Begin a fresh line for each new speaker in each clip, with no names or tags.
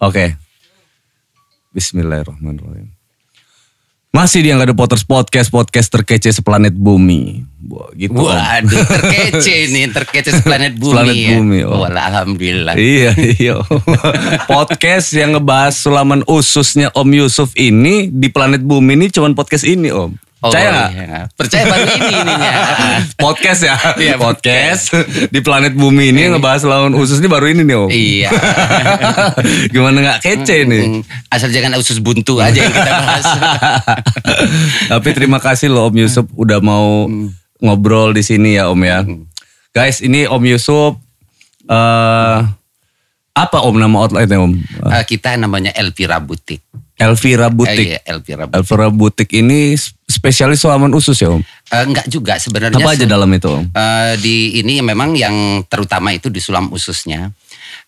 Oke. Bismillahirrahmanirrahim. Masih di yang ada Potters Podcast, podcast terkece seplanet bumi. Wah, gitu. Om.
Waduh, terkece ini, terkece planet bumi.
Planet
ya.
bumi, oh.
Walah, alhamdulillah.
Iya, iya. Om. podcast yang ngebahas sulaman ususnya Om Yusuf ini di planet bumi ini cuman podcast ini, Om.
Oh,
Percaya nggak?
iya. Percaya baru ini ininya.
Podcast ya,
Iya,
podcast di planet bumi ini yang ngebahas sulaman usus ini baru ini nih, Om.
iya.
Gimana nggak kece nih?
Hmm, Asal jangan usus buntu aja yang kita bahas.
Tapi terima kasih loh Om Yusuf udah mau ngobrol di sini ya Om ya. Guys, ini Om Yusuf eh apa Om nama outletnya Om?
Eh, kita namanya Elvira Butik.
Elvira
Eh,
Butik.
iya, Elvira Butik.
Elvira Butik ini spesialis sulaman usus ya Om.
Eh, enggak juga sebenarnya.
Apa aja
se-
dalam itu Om?
Eh, di ini memang yang terutama itu di sulam ususnya.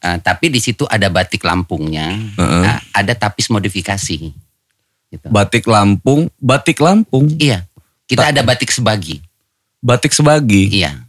Eh, tapi di situ ada batik Lampungnya, Nah, ada tapis modifikasi. Gitu.
Batik Lampung, batik Lampung,
Iya, kita ada batik sebagi.
batik sebagi.
Iya,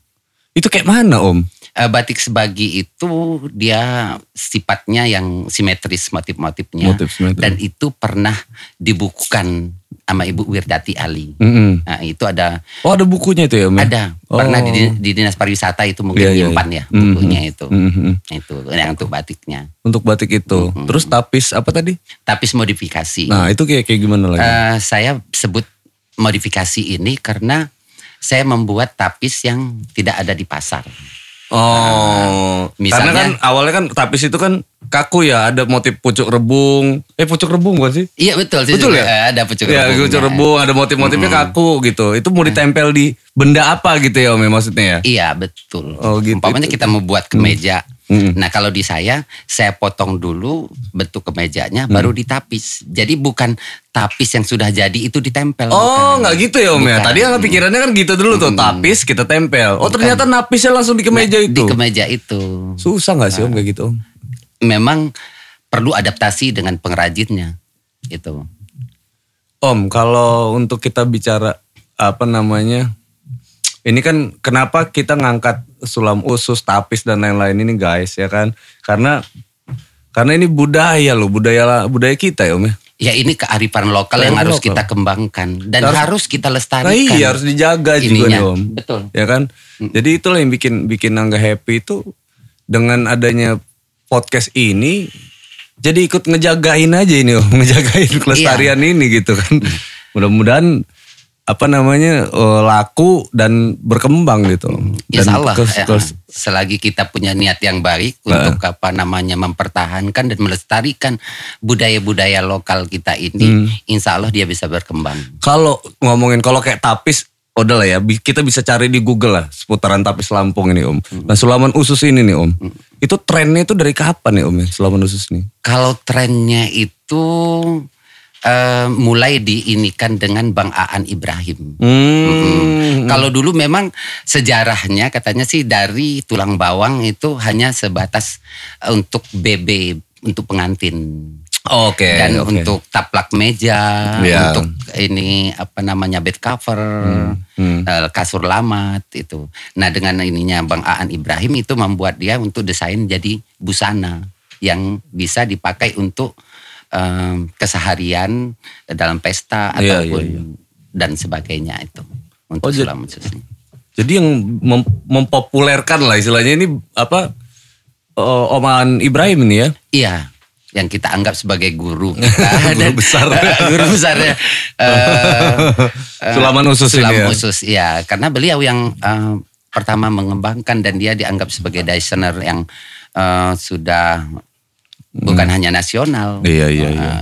Itu kayak mana Om?
Eh, batik sebagi itu dia sifatnya yang simetris motif-motifnya
Motif simetris.
dan itu pernah dibukukan sama Ibu Wirdati Ali.
Mm-mm.
Nah, itu ada
Oh ada bukunya itu ya Om? ya?
ada pernah di,
Oh.
di dinas pariwisata itu mungkin
Iya, iya,
nyimpan
iya.
ya bukunya itu. Nah,
Mhm.
Itu yang untuk batiknya.
Untuk batik itu. Terus tapis apa tadi?
Tapis modifikasi.
Nah itu kayak kayak gimana lagi?
Iya. Eh, saya sebut modifikasi ini karena saya membuat tapis yang tidak ada di pasar.
Oh,
misalnya-
karena kan awalnya kan tapis itu kan kaku ya, ada motif pucuk rebung. Eh pucuk rebung bukan sih?
Iya betul. saya
Betul
juga,
ya?
eh, Ada pucuk Hmm.
Ya,
rebungnya.
pucuk rebung, ada motif-motifnya kaku gitu. Itu
Hmm.
mau ditempel di benda apa gitu ya, Om ya, maksudnya ya?
Iya betul.
Oh, gitu. Hmm.
Umpamanya kita membuat kemeja. Nah kalau di saya, saya potong dulu bentuk kemejanya, baru
Hmm.
ditapis. Jadi bukan tapis yang sudah jadi itu ditempel.
Oh,
bukan.
nggak gitu ya, Om ya.
Bukan. Hmm.
Tadi yang pikirannya kan gitu dulu tuh, tapis kita tempel. Oh, ternyata napisnya langsung di kemeja
Di
itu.
kemeja itu
Susah nggak sih, Om, kayak gitu, Om?
memang perlu adaptasi dengan pengrajinnya. gitu. Itu.
Om, kalau untuk kita bicara apa namanya, ini kan kenapa kita ngangkat sulam usus, tapis dan lain-lain ini guys ya kan? Karena karena ini budaya loh, budaya budaya kita ya Om ya.
Ya ini kearifan lokal yang
Kearifan
harus
lokal.
kita kembangkan dan harus, kita lestarikan.
Nah iya harus dijaga juga
Kan- Ininya,
nih Om.
betul.
Ya kan? Jadi itulah yang bikin bikin Angga happy itu dengan adanya podcast ini jadi ikut ngejagain aja ini Om, ngejagain kelestarian
Iya.
ini gitu kan.
Mm.
Mudah-mudahan apa namanya eh, laku dan berkembang gitu. Om. Dan
Insya Allah,
kes-
ya.
kes-
selagi kita punya niat yang baik
Ah.
untuk apa namanya mempertahankan dan melestarikan budaya-budaya lokal kita
Hmm.
ini, insya Allah dia bisa berkembang.
Kalau ngomongin kalau kayak tapis udah lah ya bi- kita bisa cari di Google lah seputaran tapis Lampung ini
Mm.
Om. Nah, sulaman usus ini nih Om. Itu trennya itu dari kapan ya Om ya sulaman usus ini?
Kalau trennya itu eh, mulai diinikan dengan Bang Aan Ibrahim.
Hmm.
Kalau dulu memang sejarahnya katanya sih dari tulang bawang itu hanya sebatas eh, untuk BB untuk pengantin.
Oke.
dan
oke.
untuk taplak meja,
Iya. Hmm,
untuk ini apa namanya bed cover, eh, kasur lamat itu. Nah dengan ininya Bang Aan Ibrahim itu membuat dia untuk desain jadi busana yang bisa dipakai untuk em, keseharian dalam pesta
Iya,
ataupun
iya,
dan sebagainya itu untuk
Oh, jadi-
sulam khususnya.
jadi yang mem- mempopulerkan lah istilahnya ini apa eh, oman Ibrahim ini ya.
Iya, yang kita anggap sebagai guru kita
Guru besar.
guru besarnya eh, eh,
Sulaman usus ini
sulam
ya.
usus, iya. Karena beliau yang eh, pertama mengembangkan dan dia dianggap sebagai desainer yang eh, sudah bukan hanya nasional.
Hmm. Iya, iya,
eh,
iya.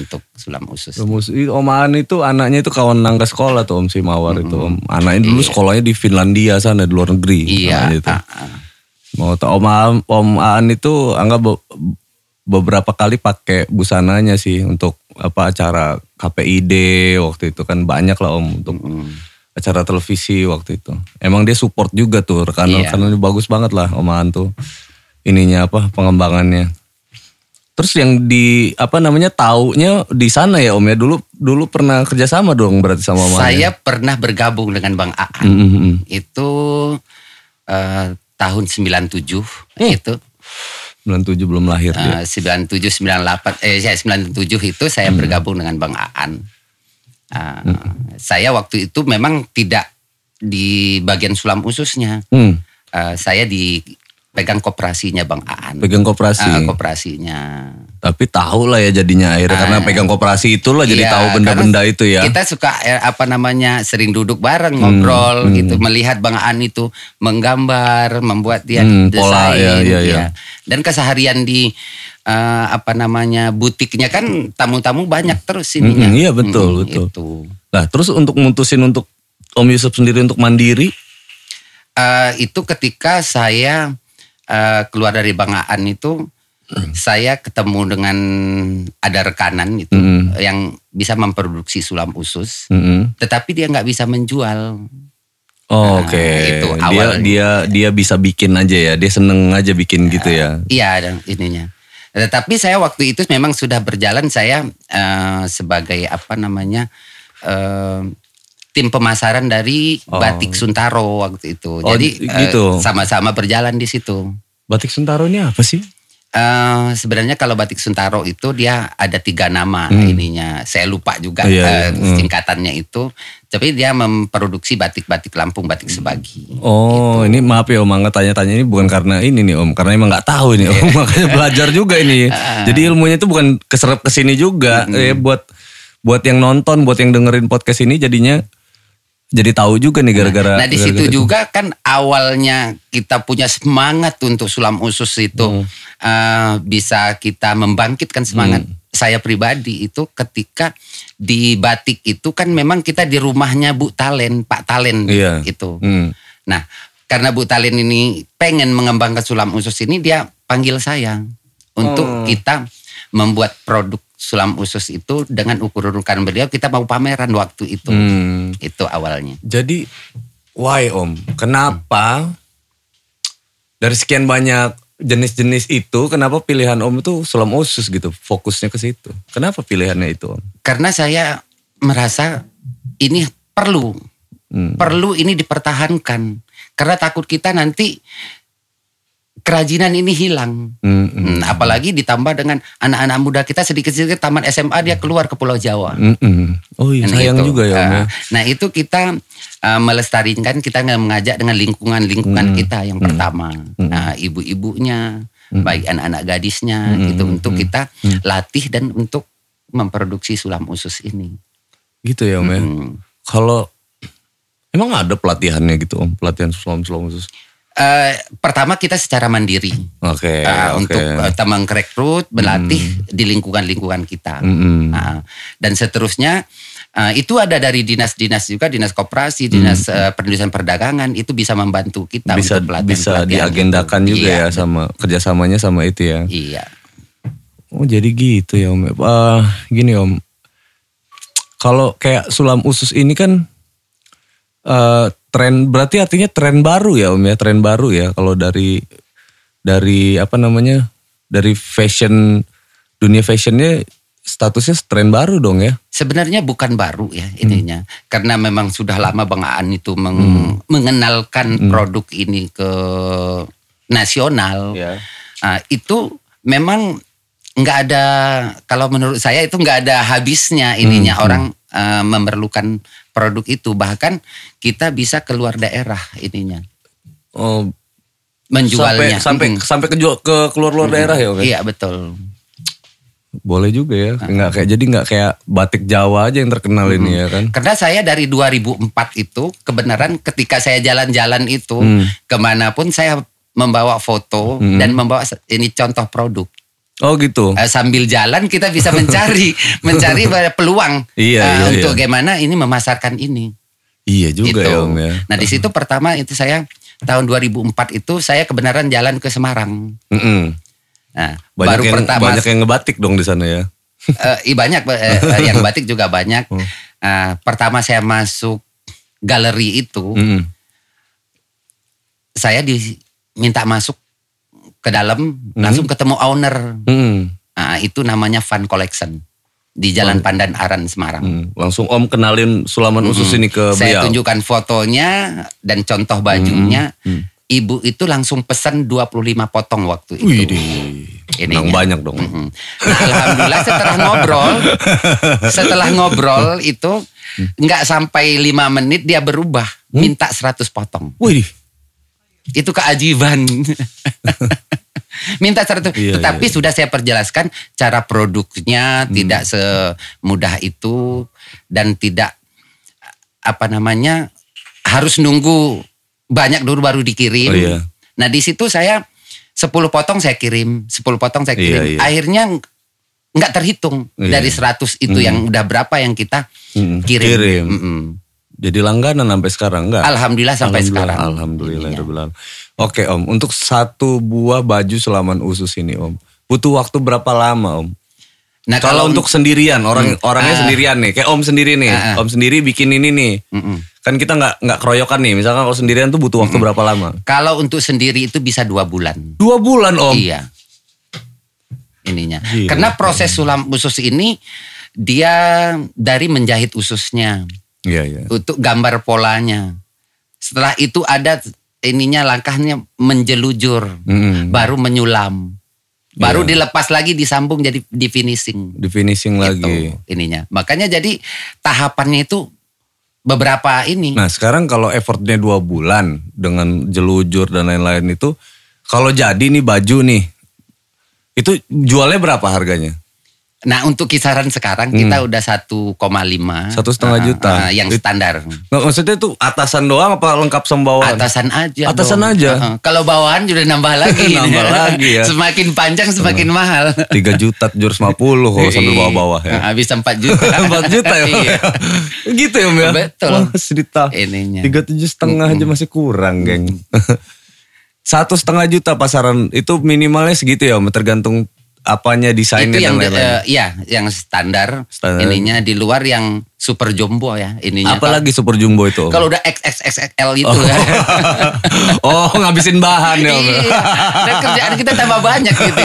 Untuk sulam usus.
Rumus- i- Om Aan itu anaknya itu kawan nangka sekolah tuh Om si Mawar itu Om. Anaknya dulu sekolahnya di Finlandia sana di luar negeri.
Mm-hmm. Iya,
anaknya Nah, itu.
ah, ah.
Mau tau Om Aan, Om Aan itu anggap be- beberapa kali pakai busananya sih untuk apa acara KPID waktu itu kan banyak lah Om untuk acara televisi waktu itu. Emang dia support juga tuh
Iya.
rekan-rekannya bagus banget lah Om Aan tuh ininya apa pengembangannya. Terus yang di apa namanya taunya di sana ya Om ya dulu dulu pernah kerjasama dong berarti sama Om. ya?
Saya pernah bergabung dengan Bang Aan.
Mm, mm, mm. Hmm.
itu eh, tahun 97 itu
97 belum lahir dia.
Eh, 97 98 eh saya 97 itu saya bergabung dengan Bang Aan. Ah, Saya waktu itu memang tidak di bagian sulam khususnya.
Hmm,
Eh, saya di pegang koperasinya Bang Aan.
pegang koperasi.
Ah, koperasinya.
Tapi tahu lah ya jadinya akhirnya karena pegang koperasi itulah jadi
Ah. Iya,
tahu benda-benda
karena
itu ya.
Kita suka eh, apa namanya sering duduk bareng
Hmm,
ngobrol gitu melihat Bang Aan itu menggambar, membuat dia
Hmm,
desain
pola, iya, iya, iya.
iya. Dan keseharian di eh, apa namanya butiknya kan tamu-tamu banyak terus ininya.
Mm-mm, iya, betul,
Mm,
betul.
itu.
Nah, terus untuk mutusin untuk Om Yusuf sendiri untuk mandiri,
Eh, itu ketika saya eh, keluar dari Bang Aan itu
Hmm.
saya ketemu dengan ada rekanan gitu
Mm-mm.
yang bisa memproduksi sulam usus
Mm-mm.
tetapi dia nggak bisa menjual
Oh,
Nah,
oke.
itu
Dia
awalnya.
dia dia bisa bikin aja ya. Dia seneng aja bikin gitu ya.
Iya, ada ininya. Tetapi saya waktu itu memang sudah berjalan saya eh, sebagai apa namanya eh, tim pemasaran dari
Oh.
batik Suntaro waktu itu.
Oh,
Jadi eh,
gitu.
sama-sama berjalan di situ.
Batik Sentaro ini apa sih?
Eh, sebenarnya kalau batik Suntaro itu dia ada tiga nama ininya. Saya lupa juga
Hmm. Iya, iya.
eh, singkatannya itu. Tapi dia memproduksi batik-batik Lampung, batik Sebagi.
Oh, ini maaf ya Om, nggak tanya-tanya ini bukan karena ini nih Om, karena emang nggak tahu ini Om, makanya belajar juga ini.
Ah.
Jadi ilmunya itu bukan keserap ke sini juga. Eh buat buat yang nonton, buat yang dengerin podcast ini jadinya jadi tahu juga nih gara-gara
Nah di
gara-gara
situ
itu.
juga kan awalnya kita punya semangat untuk sulam usus itu
Hmm.
eh, bisa kita membangkitkan semangat
Hmm.
saya pribadi itu ketika di batik itu kan memang kita di rumahnya Bu Talen Pak Talen
Iya.
itu.
Hmm.
Nah karena Bu Talen ini pengen mengembangkan sulam usus ini dia panggil saya
Hmm.
untuk kita membuat produk sulam usus itu dengan ukuran-ukuran beliau kita mau pameran waktu itu
Hmm.
itu awalnya.
Jadi why om? Kenapa dari sekian banyak jenis-jenis itu kenapa pilihan om itu sulam usus gitu fokusnya ke situ? Kenapa pilihannya itu om?
karena saya merasa ini perlu
Hmm.
perlu ini dipertahankan karena takut kita nanti kerajinan ini hilang
Hmm, hmm,
Hmm, apalagi ditambah dengan anak-anak muda kita sedikit-sedikit taman SMA dia keluar ke Pulau Jawa
hmm, hmm. Oh iya
Nah,
sayang
itu.
juga ya om ya.
Ah, Nah itu kita ah, melestarikan kita nggak mengajak dengan lingkungan-lingkungan
Hmm.
kita yang pertama, Nah, ibu-ibunya,
Hmm.
baik anak-anak gadisnya, itu untuk kita latih dan untuk memproduksi sulam usus ini.
Gitu ya om ya.
Hmm.
Kalau emang ada pelatihannya gitu om pelatihan sulam sulam usus?
Eh, pertama kita secara mandiri
Oke. oke.
Ah, untuk eh, teman rekrut melatih di lingkungan-lingkungan kita.
Hmm, hmm.
Nah, dan seterusnya eh, itu ada dari dinas-dinas juga dinas koperasi, dinas eh, pendidikan perdagangan itu bisa membantu
Hmm.
kita
bisa
ah, untuk pelatihan-
bisa
pelatihan
diagendakan
itu.
juga
Iya,
ya sama kerjasamanya sama itu ya.
Iya.
Oh jadi gitu ya Om. Eh, gini Om, kalau kayak sulam usus ini kan eh tren berarti artinya tren baru ya Om ya, tren baru ya kalau dari dari apa namanya dari fashion dunia fashionnya statusnya tren baru dong ya.
Sebenarnya bukan baru ya
Hmm.
ininya, karena memang sudah lama Bang Aan itu
Hmm.
meng- mengenalkan produk ini ke nasional.
Ya.
Ah, itu memang nggak ada kalau menurut saya itu nggak ada habisnya
Hmm,
ininya orang eh, memerlukan produk itu bahkan kita bisa keluar daerah ininya
Oh, sampai
menjualnya
sampai
Mm-mm.
sampai ke jual- ke keluar-luar daerah ya Om. ya?
iya Ah. betul
Boleh juga ya. Nggak kayak jadi nggak kayak batik Jawa aja yang terkenal ini ya kan.
karena saya dari 2004 itu kebenaran ketika saya jalan-jalan itu
Hmm.
kemanapun saya membawa foto dan membawa se- ini contoh produk
Oh gitu.
Eh, sambil jalan kita bisa mencari mencari peluang
Iya,
eh,
iya,
untuk
iya.
gimana ini memasarkan ini
Iya juga
Gitu.
ya Om ya.
Nah di situ pertama itu saya tahun 2004 itu saya kebenaran jalan ke Semarang.
Mm-mm.
Nah,
Banyak
baru
yang,
pertama
banyak yang ngebatik dong di sana ya.
eh, i- banyak eh, eh, yang batik juga banyak.
Oh.
Eh, pertama saya masuk galeri itu
Mm-mm.
saya diminta masuk ke dalam
Hmm.
langsung ketemu owner.
Mm-mm.
Nah, itu namanya Fun Collection di Jalan Pandan Aran Semarang.
Mm. Langsung Om kenalin sulaman usus ini ke
saya
beliau. Hmm,
tunjukkan fotonya dan contoh bajunya. ibu itu langsung pesan 25 potong waktu itu.
Wih,
Ininya.
banyak dong.
Mm-mm. Nah, alhamdulillah setelah ngobrol, setelah ngobrol itu
Hmm.
nggak sampai lima menit dia berubah, minta 100 potong.
Wih,
Itu keajaiban. minta 100,
Iya,
tetapi
iya, Hmm.
sudah saya perjelaskan cara produknya tidak semudah itu dan tidak apa namanya harus nunggu banyak dulu baru dikirim.
Oh, iya.
Nah di situ saya 10 potong saya kirim, 10 potong saya
Iya,
kirim.
iya.
Akhirnya ng- nggak terhitung
Iya.
dari 100 itu yang udah berapa yang kita
Mm,
kirim.
kirim.
Mm-mm.
jadi langganan sampai sekarang enggak?
Alhamdulillah sampai
Alhamdulillah,
sekarang. Iya.
Alhamdulillah.
Ininya.
Rabbil Alamin. Oke om, untuk satu buah baju selaman usus ini om, butuh waktu berapa lama om?
Nah
kalau untuk sendirian, orang orangnya
Ah.
sendirian nih, kayak om sendiri nih,
Ah, ah.
om sendiri bikin ini nih,
Mm-mm.
kan kita nggak nggak keroyokan nih. Misalkan kalau sendirian tuh butuh waktu berapa lama?
kalau untuk sendiri itu bisa dua bulan.
Dua bulan om.
Iya. Ininya.
Gila.
Karena proses sulam usus ini dia dari menjahit ususnya.
Iya iya.
untuk gambar polanya. Setelah itu ada ininya langkahnya menjelujur,
Mm-mm.
baru menyulam,
Iya.
baru dilepas lagi disambung jadi di finishing.
Di finishing lagi.
Gitu, ininya. Makanya jadi tahapannya itu beberapa ini.
Nah sekarang kalau effortnya dua bulan dengan jelujur dan lain-lain itu, kalau jadi nih baju nih, itu jualnya berapa harganya?
Nah untuk kisaran sekarang kita udah 1,5.
Hmm. Satu setengah
Ah,
juta.
ah, yang
It-
standar.
Nggak, maksudnya itu atasan doang apa lengkap sama bawahan?
Atasan aja.
Oh, Atasan
dong.
aja?
Ah, ah. Kalau bawahan juga nambah lagi.
Nambah lagi ya.
Semakin panjang semakin mahal.
3 juta 750 kalau sambil bawa-bawa ya.
Habis 4 juta.
4 juta ya.
Iya.
gitu ya, Om ya.
Betul.
Wah, sedita.
Ininya.
Tiga tujuh setengah aja masih kurang, geng. Satu setengah juta pasaran itu minimalnya segitu ya, Om. Tergantung apanya desainnya
Itu
dan
yang de-
lain-lain.
eh, iya, yang standar,
Nah, Standar.
ininya di luar yang super jumbo ya ininya.
Apalagi super jumbo itu, Om.
kalau udah XXXXL itu ya.
oh, ngabisin bahan ya, Om.
iya. Dan kerjaan kita tambah banyak gitu.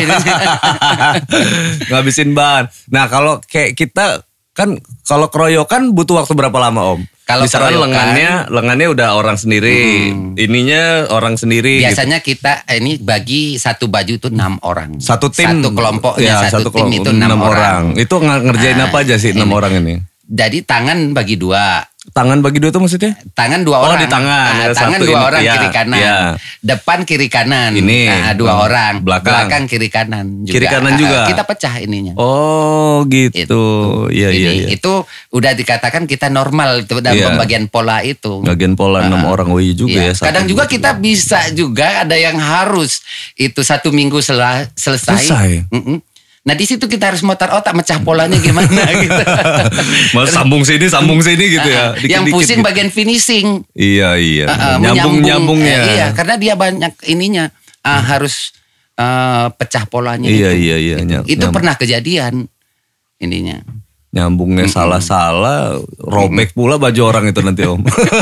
ngabisin bahan. Nah, kalau kayak kita kan kalau keroyokan butuh waktu berapa lama, Om?
Kalau
Misalkan
keroyokan- Hmm.
lengannya lengannya udah orang sendiri, ininya orang sendiri gitu.
Biasanya kita eh, ini bagi satu baju itu enam orang.
Satu tim
Satu kelompoknya
Ya,
satu, tim
kelompok,
itu enam orang.
Itu nge- ngerjain
Nah,
apa aja sih enam orang ini?
Jadi tangan bagi dua.
Tangan bagi dua itu maksudnya?
Tangan dua
Oh,
orang.
di tangan.
Nah,
Ada
tangan
satu
dua
ini.
orang
Iya,
kiri kanan.
iya.
Depan kiri kanan.
Ini.
Nah, dua
Oh,
orang.
belakang.
kiri kanan juga.
Kiri kanan
Ah, ah,
juga.
Kita pecah ininya.
Oh, gitu. Iya, iya,
Ini,
iya.
Itu udah dikatakan kita normal itu dalam
Iya.
pembagian pola itu.
Bagian pola enam orang woi juga ya.
Iya.
satu,
Kadang juga
dua,
kita bisa juga ada yang harus itu satu minggu sela- selesai.
Selesai.
Mm-mm. Nah di situ kita harus mutar otak mecah polanya gimana gitu. Ah,
tiga. Mas sambung sini, sambung sini gitu ya.
yang
Dikit-dikit
pusing
gitu.
bagian finishing.
Iya, iya.
Uh, uh,
Nyambung-nyambungnya.
menyambung. Eh, iya, karena dia banyak ininya uh, harus uh, pecah polanya.
Iya,
itu.
iya, iya. Nyam-
Itu
nyam-
pernah kejadian ininya.
Nyambungnya salah-salah, robek pula baju orang itu nanti om.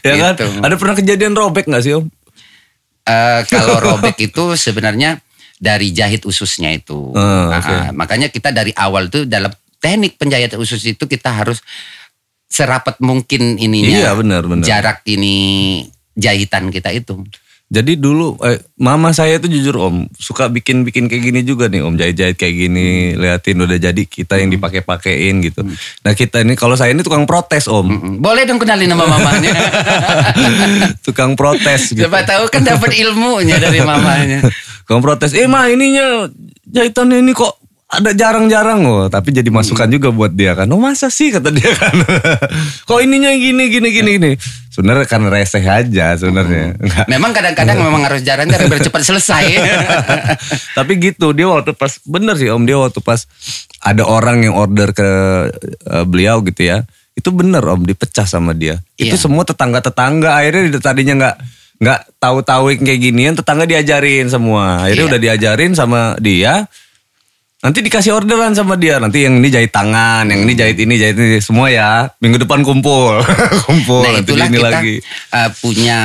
ya kan?
Gitu.
Ada pernah kejadian robek nggak sih om?
Eh, kalau robek itu sebenarnya dari jahit ususnya itu.
Hmm,
Ah,
oke.
ah. makanya kita dari awal tuh dalam teknik penjahitan usus itu kita harus serapat mungkin ininya.
Iya, benar, benar.
Jarak ini jahitan kita itu.
Jadi dulu eh, mama saya tuh jujur om suka bikin-bikin kayak gini juga nih om jahit-jahit kayak gini liatin udah jadi kita yang dipakai-pakein gitu.
Mm.
Nah kita ini kalau saya ini tukang protes om,
Mm-mm. Boleh dong kenalin nama mamanya.
tukang protes gitu.
Siapa tahu kan dapat ilmunya dari mamanya.
Kamu protes, eh mah ininya jahitannya ini kok ada jarang-jarang loh. Tapi jadi masukan juga buat dia kan. Oh masa sih kata dia kan. kok ininya gini gini gini gini. Sebenarnya kan reseh aja sebenarnya. Nah, Enggak.
Memang kadang-kadang memang harus jarang karena biar cepat selesai.
Tapi gitu dia waktu pas bener sih om dia waktu pas ada orang yang order ke eh, beliau gitu ya. Itu bener om dipecah sama dia. Itu
Iya.
semua tetangga-tetangga akhirnya tadinya nggak nggak tahu-tahu yang kayak ginian tetangga diajarin semua. Akhirnya
Iya.
udah diajarin sama dia. Nanti dikasih orderan sama dia. Nanti yang ini jahit tangan, yang ini jahit ini, jahit ini semua ya. Minggu depan kumpul. kumpul
nah
nanti
itulah
ini
kita
lagi.
eh, punya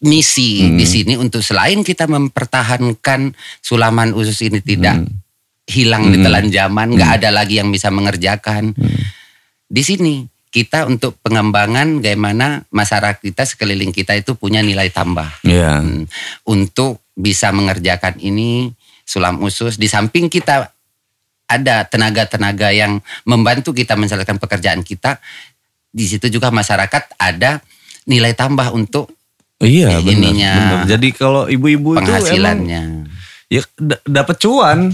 misi
Mm-hmm.
di sini untuk selain kita mempertahankan sulaman usus ini tidak
Mm-hmm. Mm-hmm.
hilang ditelan zaman, nggak ada lagi yang bisa mengerjakan. Di sini kita untuk pengembangan bagaimana masyarakat kita sekeliling kita itu punya nilai tambah
Iya.
Hmm. untuk bisa mengerjakan ini sulam usus di samping kita ada tenaga-tenaga yang membantu kita menjalankan pekerjaan kita di situ juga masyarakat ada nilai tambah untuk
Iya
Eh,
benar.
ininya.
benar. Jadi kalau ibu-ibu itu emang
penghasilannya
ya d- dapat cuan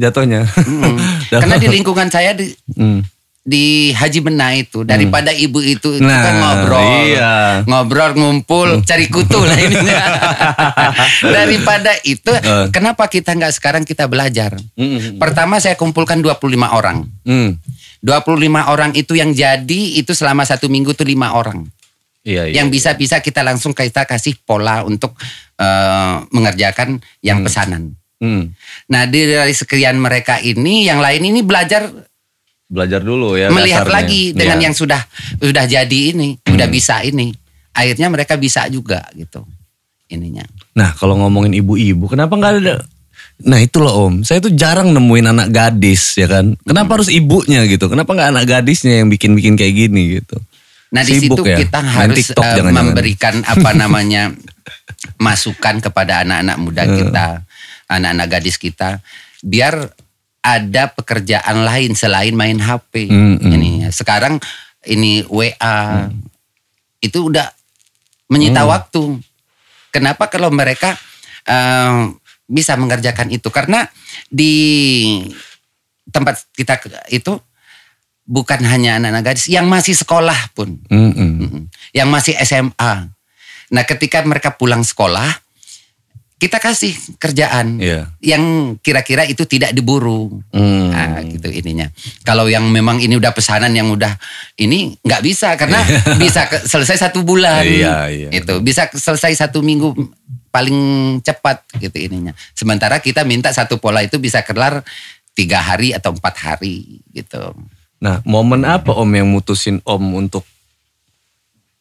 jatuhnya.
Mm.
Dapat-
karena di lingkungan saya di,
Hmm.
di Haji Mena itu daripada ibu itu itu kan ngobrol
Nah, Iya. Hmm.
ngobrol ngumpul cari kutu lah ini daripada itu
Eh.
kenapa kita nggak sekarang kita belajar
Mm-mm.
Iya. pertama saya kumpulkan 25 orang
Mm.
25 orang itu yang jadi itu selama satu minggu tuh lima orang
Iya, iya.
yang bisa-bisa kita langsung kita kasih pola untuk eh, mengerjakan
Hmm.
yang pesanan
Mm.
nah dari dari sekian mereka ini yang lain ini belajar
Belajar dulu ya
melihat
dasarnya.
lagi
Iya.
dengan
Hmm.
yang sudah sudah jadi ini, sudah bisa ini. Akhirnya mereka bisa juga gitu. Ininya.
Nah, kalau ngomongin ibu-ibu, kenapa nggak ada? Nah, itu loh Om. Saya tuh jarang nemuin anak gadis, ya kan? Kenapa harus ibunya gitu? Kenapa nggak anak gadisnya yang bikin-bikin kayak gini gitu?
Nah, di situ
Sibuk ya?
kita
Main
harus
TikTok
eh,
jangan-jangan.
memberikan apa namanya masukan kepada anak-anak muda kita, anak-anak gadis kita biar ada pekerjaan lain selain main HP.
Hmm, hmm.
Ini sekarang ini WA itu udah menyita waktu. Kenapa kalau mereka eh, bisa mengerjakan itu? Karena di tempat kita ke- itu bukan hanya anak-anak gadis yang masih sekolah pun,
Mm-mm.
Mm-mm. yang masih SMA. Nah, ketika mereka pulang sekolah, kita kasih kerjaan
Iya.
yang kira-kira itu tidak diburu.
Mm.
Nah, gitu ininya. Kalau yang memang ini udah pesanan yang udah ini nggak bisa karena bisa ke- selesai satu bulan.
Iya, iya.
Itu bisa ke- selesai satu minggu paling cepat gitu ininya. Sementara kita minta satu pola itu bisa kelar tiga hari atau empat hari gitu.
Nah, momen apa Om yang mutusin Om untuk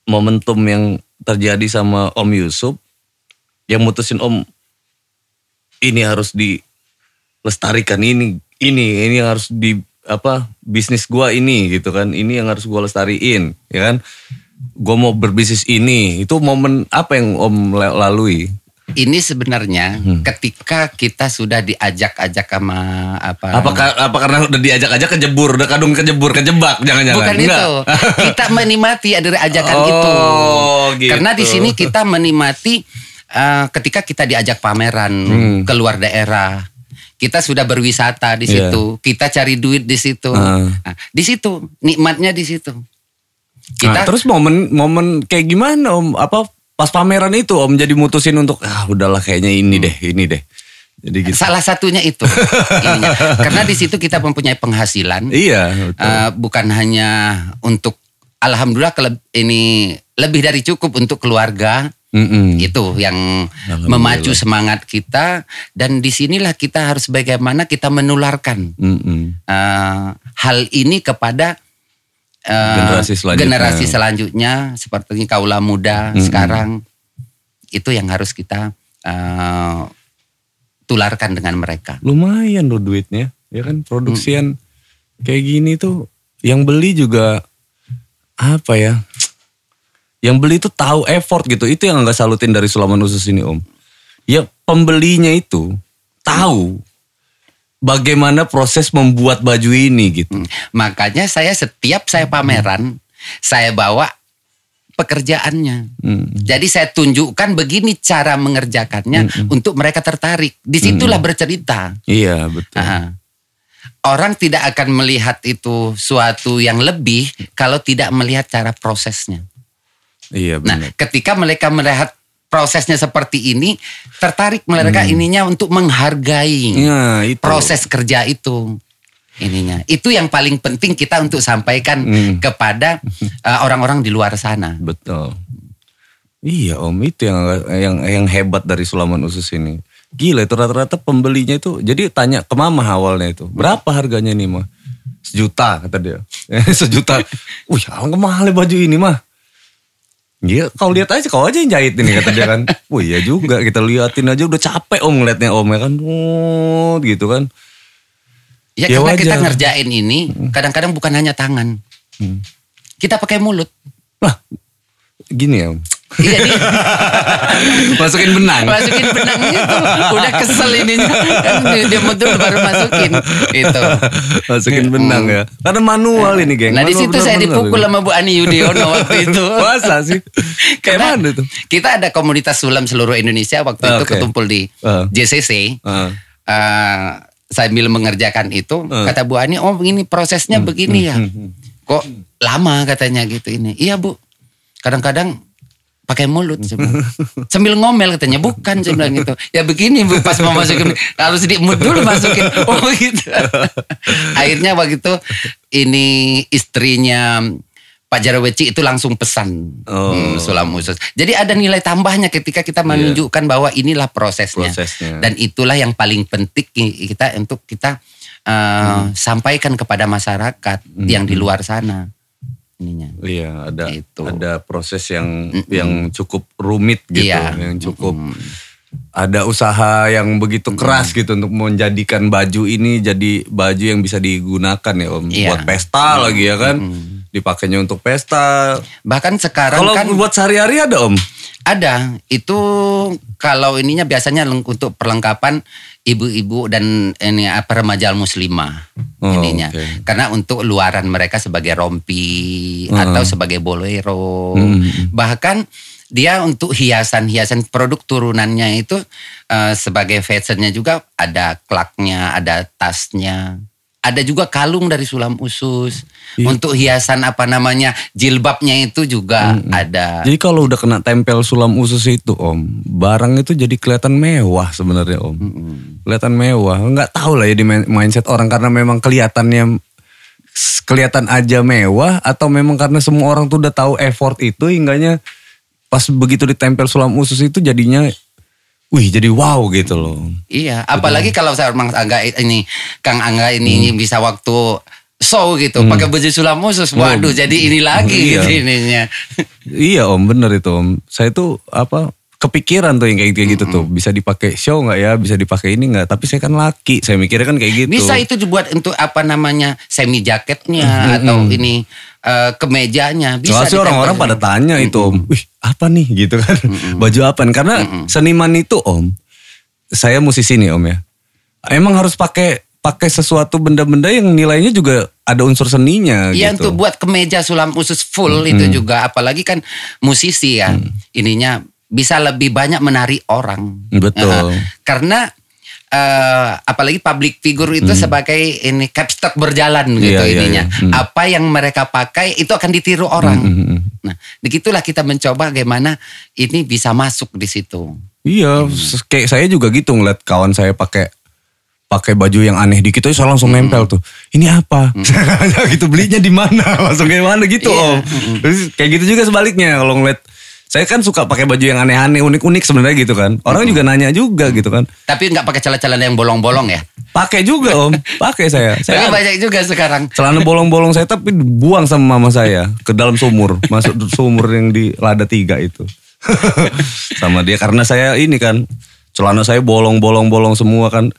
momentum yang terjadi sama Om Yusuf yang mutusin Om ini harus dilestarikan ini ini ini yang harus di apa bisnis gua ini gitu kan ini yang harus gua lestariin ya kan gua mau berbisnis ini itu momen apa yang Om la- lalui
Ini sebenarnya
Hmm.
ketika kita sudah diajak-ajak sama apa?
apakah apa karena udah diajak-ajak kejebur udah kadung kejebur kejebak jangan-jangan
Bukan
Enggak.
itu. Kita menikmati dari ajakan
Oh,
itu.
gitu.
Karena di sini kita menikmati eh, ketika kita diajak pameran
Hmm.
keluar daerah. Kita sudah berwisata di
Iya.
situ. Kita cari duit di situ.
Ah.
Nah, di situ nikmatnya di situ.
Nah,
Kita
terus momen momen kayak gimana om? Apa pas pameran itu om jadi mutusin untuk ah udahlah kayaknya ini deh, ini deh. Jadi gitu.
salah satunya itu. Ininya. Karena di situ kita mempunyai penghasilan.
Iya, betul.
Eh, bukan hanya untuk alhamdulillah kele- ini lebih dari cukup untuk keluarga
Mm-mm.
itu yang memacu semangat kita dan disinilah kita harus bagaimana kita menularkan
Mm-mm.
eh, hal ini kepada eh,
Generasi selanjutnya.
generasi selanjutnya seperti kaula muda sekarang itu yang harus kita eh, tularkan dengan mereka
Lumayan loh duitnya, ya kan produksian kayak gini tuh yang beli juga apa ya? Yang beli tuh tahu effort gitu. Itu yang nggak salutin dari Sulaman Usus ini om. Ya pembelinya itu tahu bagaimana proses membuat baju ini gitu.
Hmm. makanya saya setiap saya pameran saya bawa pekerjaannya
Mm.
Jadi saya tunjukkan begini cara mengerjakannya untuk mereka tertarik. Disitulah bercerita.
Iya betul.
Aha. Orang tidak akan melihat itu suatu yang lebih kalau tidak melihat cara prosesnya.
Iya
Nah,
benar.
ketika mereka melihat prosesnya seperti ini, tertarik mereka ininya untuk menghargai
Nah, itu.
proses kerja itu. Ininya, itu yang paling penting kita untuk sampaikan
Hmm.
kepada eh, orang-orang di luar sana.
betul. Iya Om itu yang yang yang hebat dari sulaman usus ini. Gila itu rata-rata pembelinya itu. Jadi tanya ke mama awalnya itu. Berapa harganya nih mah? Sejuta kata dia. Sejuta. Wih, alang mahal ya baju ini mah. Iya, kau lihat aja, kau aja yang jahit ini kata dia kan. Wah iya juga, kita liatin aja udah capek om ngeliatnya om ya kan. Oh, gitu kan.
Ya,
Ya wajar.
karena
Hmm.
kita ngerjain ini kadang-kadang bukan hanya tangan. Kita pakai mulut.
Gini ya om.
Iya, di-
Masukin benang.
masukin benang itu. Udah kesel ininya. Kan dia dia mundur baru masukin. Gitu. Itu.
Masukin benang ya. Karena manual ini geng.
hmm. Nah di
Manual
situ saya
benar-benar
dipukul
ini.
sama Bu Ani Yudhoyono waktu itu.
Masa sih? Kayak
Karena
mana tuh?
Kita ada komunitas sulam seluruh Indonesia waktu itu
Oke.
ketumpul di
Ah.
JCC.
Ah.
Eh, sambil mengerjakan itu
Ah.
kata Bu Ani, "Oh, ini
Hmm,
prosesnya begini ya." Kok lama katanya gitu ini. Iya, Bu. Kadang-kadang pakai mulut saya bilang. sambil ngomel katanya bukan saya bilang gitu ya begini Bu, pas mau masukin harus diemut dulu masukin oh gitu akhirnya waktu itu ini istrinya Pak Jaraweci itu langsung pesan
Oh.
Hmm, sulam khusus. Jadi ada nilai tambahnya ketika kita menunjukkan bahwa inilah prosesnya.
Prosesnya.
Dan itulah yang paling penting ki- kita untuk kita eh, sampaikan kepada masyarakat yang di luar sana. Ininya.
Iya ada
Gitu.
ada proses yang yang cukup rumit gitu,
Iya.
yang cukup ada usaha yang begitu keras gitu untuk menjadikan baju ini jadi baju yang bisa digunakan ya om,
Iya.
buat pesta lagi ya kan, dipakainya untuk pesta.
Bahkan sekarang
Kalau
kan
buat sehari-hari ada om,
ada itu kalau ininya biasanya leng- untuk perlengkapan ibu-ibu dan ini apa remaja muslimah
Oh,
ininya
oke. Hmm.
karena untuk luaran mereka sebagai rompi atau sebagai bolero bahkan dia untuk hiasan-hiasan produk turunannya itu eh, sebagai fashionnya juga ada klaknya ada tasnya ada juga kalung dari sulam usus
Iya.
untuk hiasan apa namanya jilbabnya itu juga
Hmm,
ada
jadi kalau udah kena tempel sulam usus itu om, barang itu jadi kelihatan mewah sebenarnya om, kelihatan mewah. Nggak tahu lah ya di main- mindset orang karena memang kelihatannya s- kelihatan aja mewah atau memang karena semua orang tuh udah tahu effort itu hingganya pas begitu ditempel sulam usus itu jadinya, wih jadi wow gitu loh.
Iya, apalagi kalau saya Mang Angga ini Kang Angga ini
Hmm.
bisa waktu show gitu pakai baju sulam khusus. Waduh, jadi ini lagi
Hmm. Iya.
gitu ininya.
Iya om bener itu om. Saya tuh apa kepikiran tuh yang kayak kayak gitu tuh bisa dipakai show nggak ya bisa dipakai ini nggak tapi saya kan laki saya mikirnya kan kayak gitu
Bisa itu dibuat untuk apa namanya? semi jaketnya atau ini eh, kemejanya bisa.
Hmm, Soalnya sih
ditempel.
orang-orang pada tanya itu om, wih apa nih gitu kan, baju apa? Karena seniman itu om, saya musisi nih om ya, emang harus pakai pakai sesuatu benda-benda yang nilainya juga ada unsur seninya
Iya
gitu. Hmm,
untuk buat kemeja sulam usus full itu juga apalagi kan musisi ya. Ininya bisa lebih banyak menarik orang.
Betul.
Eh, karena eh, apalagi public figure itu sebagai ini capstock berjalan gitu
Hmm. Iya, iya,
ininya.
iya.
Apa yang mereka pakai itu akan ditiru orang.
Hmm,
Nah, begitulah kita mencoba bagaimana ini bisa masuk di situ.
Iya, s- kayak saya juga gitu ngeliat kawan saya pakai pakai baju yang aneh dikit aja saya langsung nempel tuh. Ini apa? gitu belinya di mana? Langsung kayak mana gitu, Om. Terus kayak gitu juga sebaliknya kalau ngeliat saya kan suka pakai baju yang aneh-aneh, unik-unik sebenarnya gitu kan. Orang juga nanya juga gitu kan.
Tapi nggak pakai celana-celana yang bolong-bolong ya.
Pakai juga, Om. Pakai saya.
Tapi
Saya
banyak juga sekarang.
celana bolong-bolong saya tapi dibuang sama mama saya ke dalam sumur, masuk sumur yang di lada tiga itu. sama dia karena saya ini kan celana saya bolong-bolong-bolong semua kan.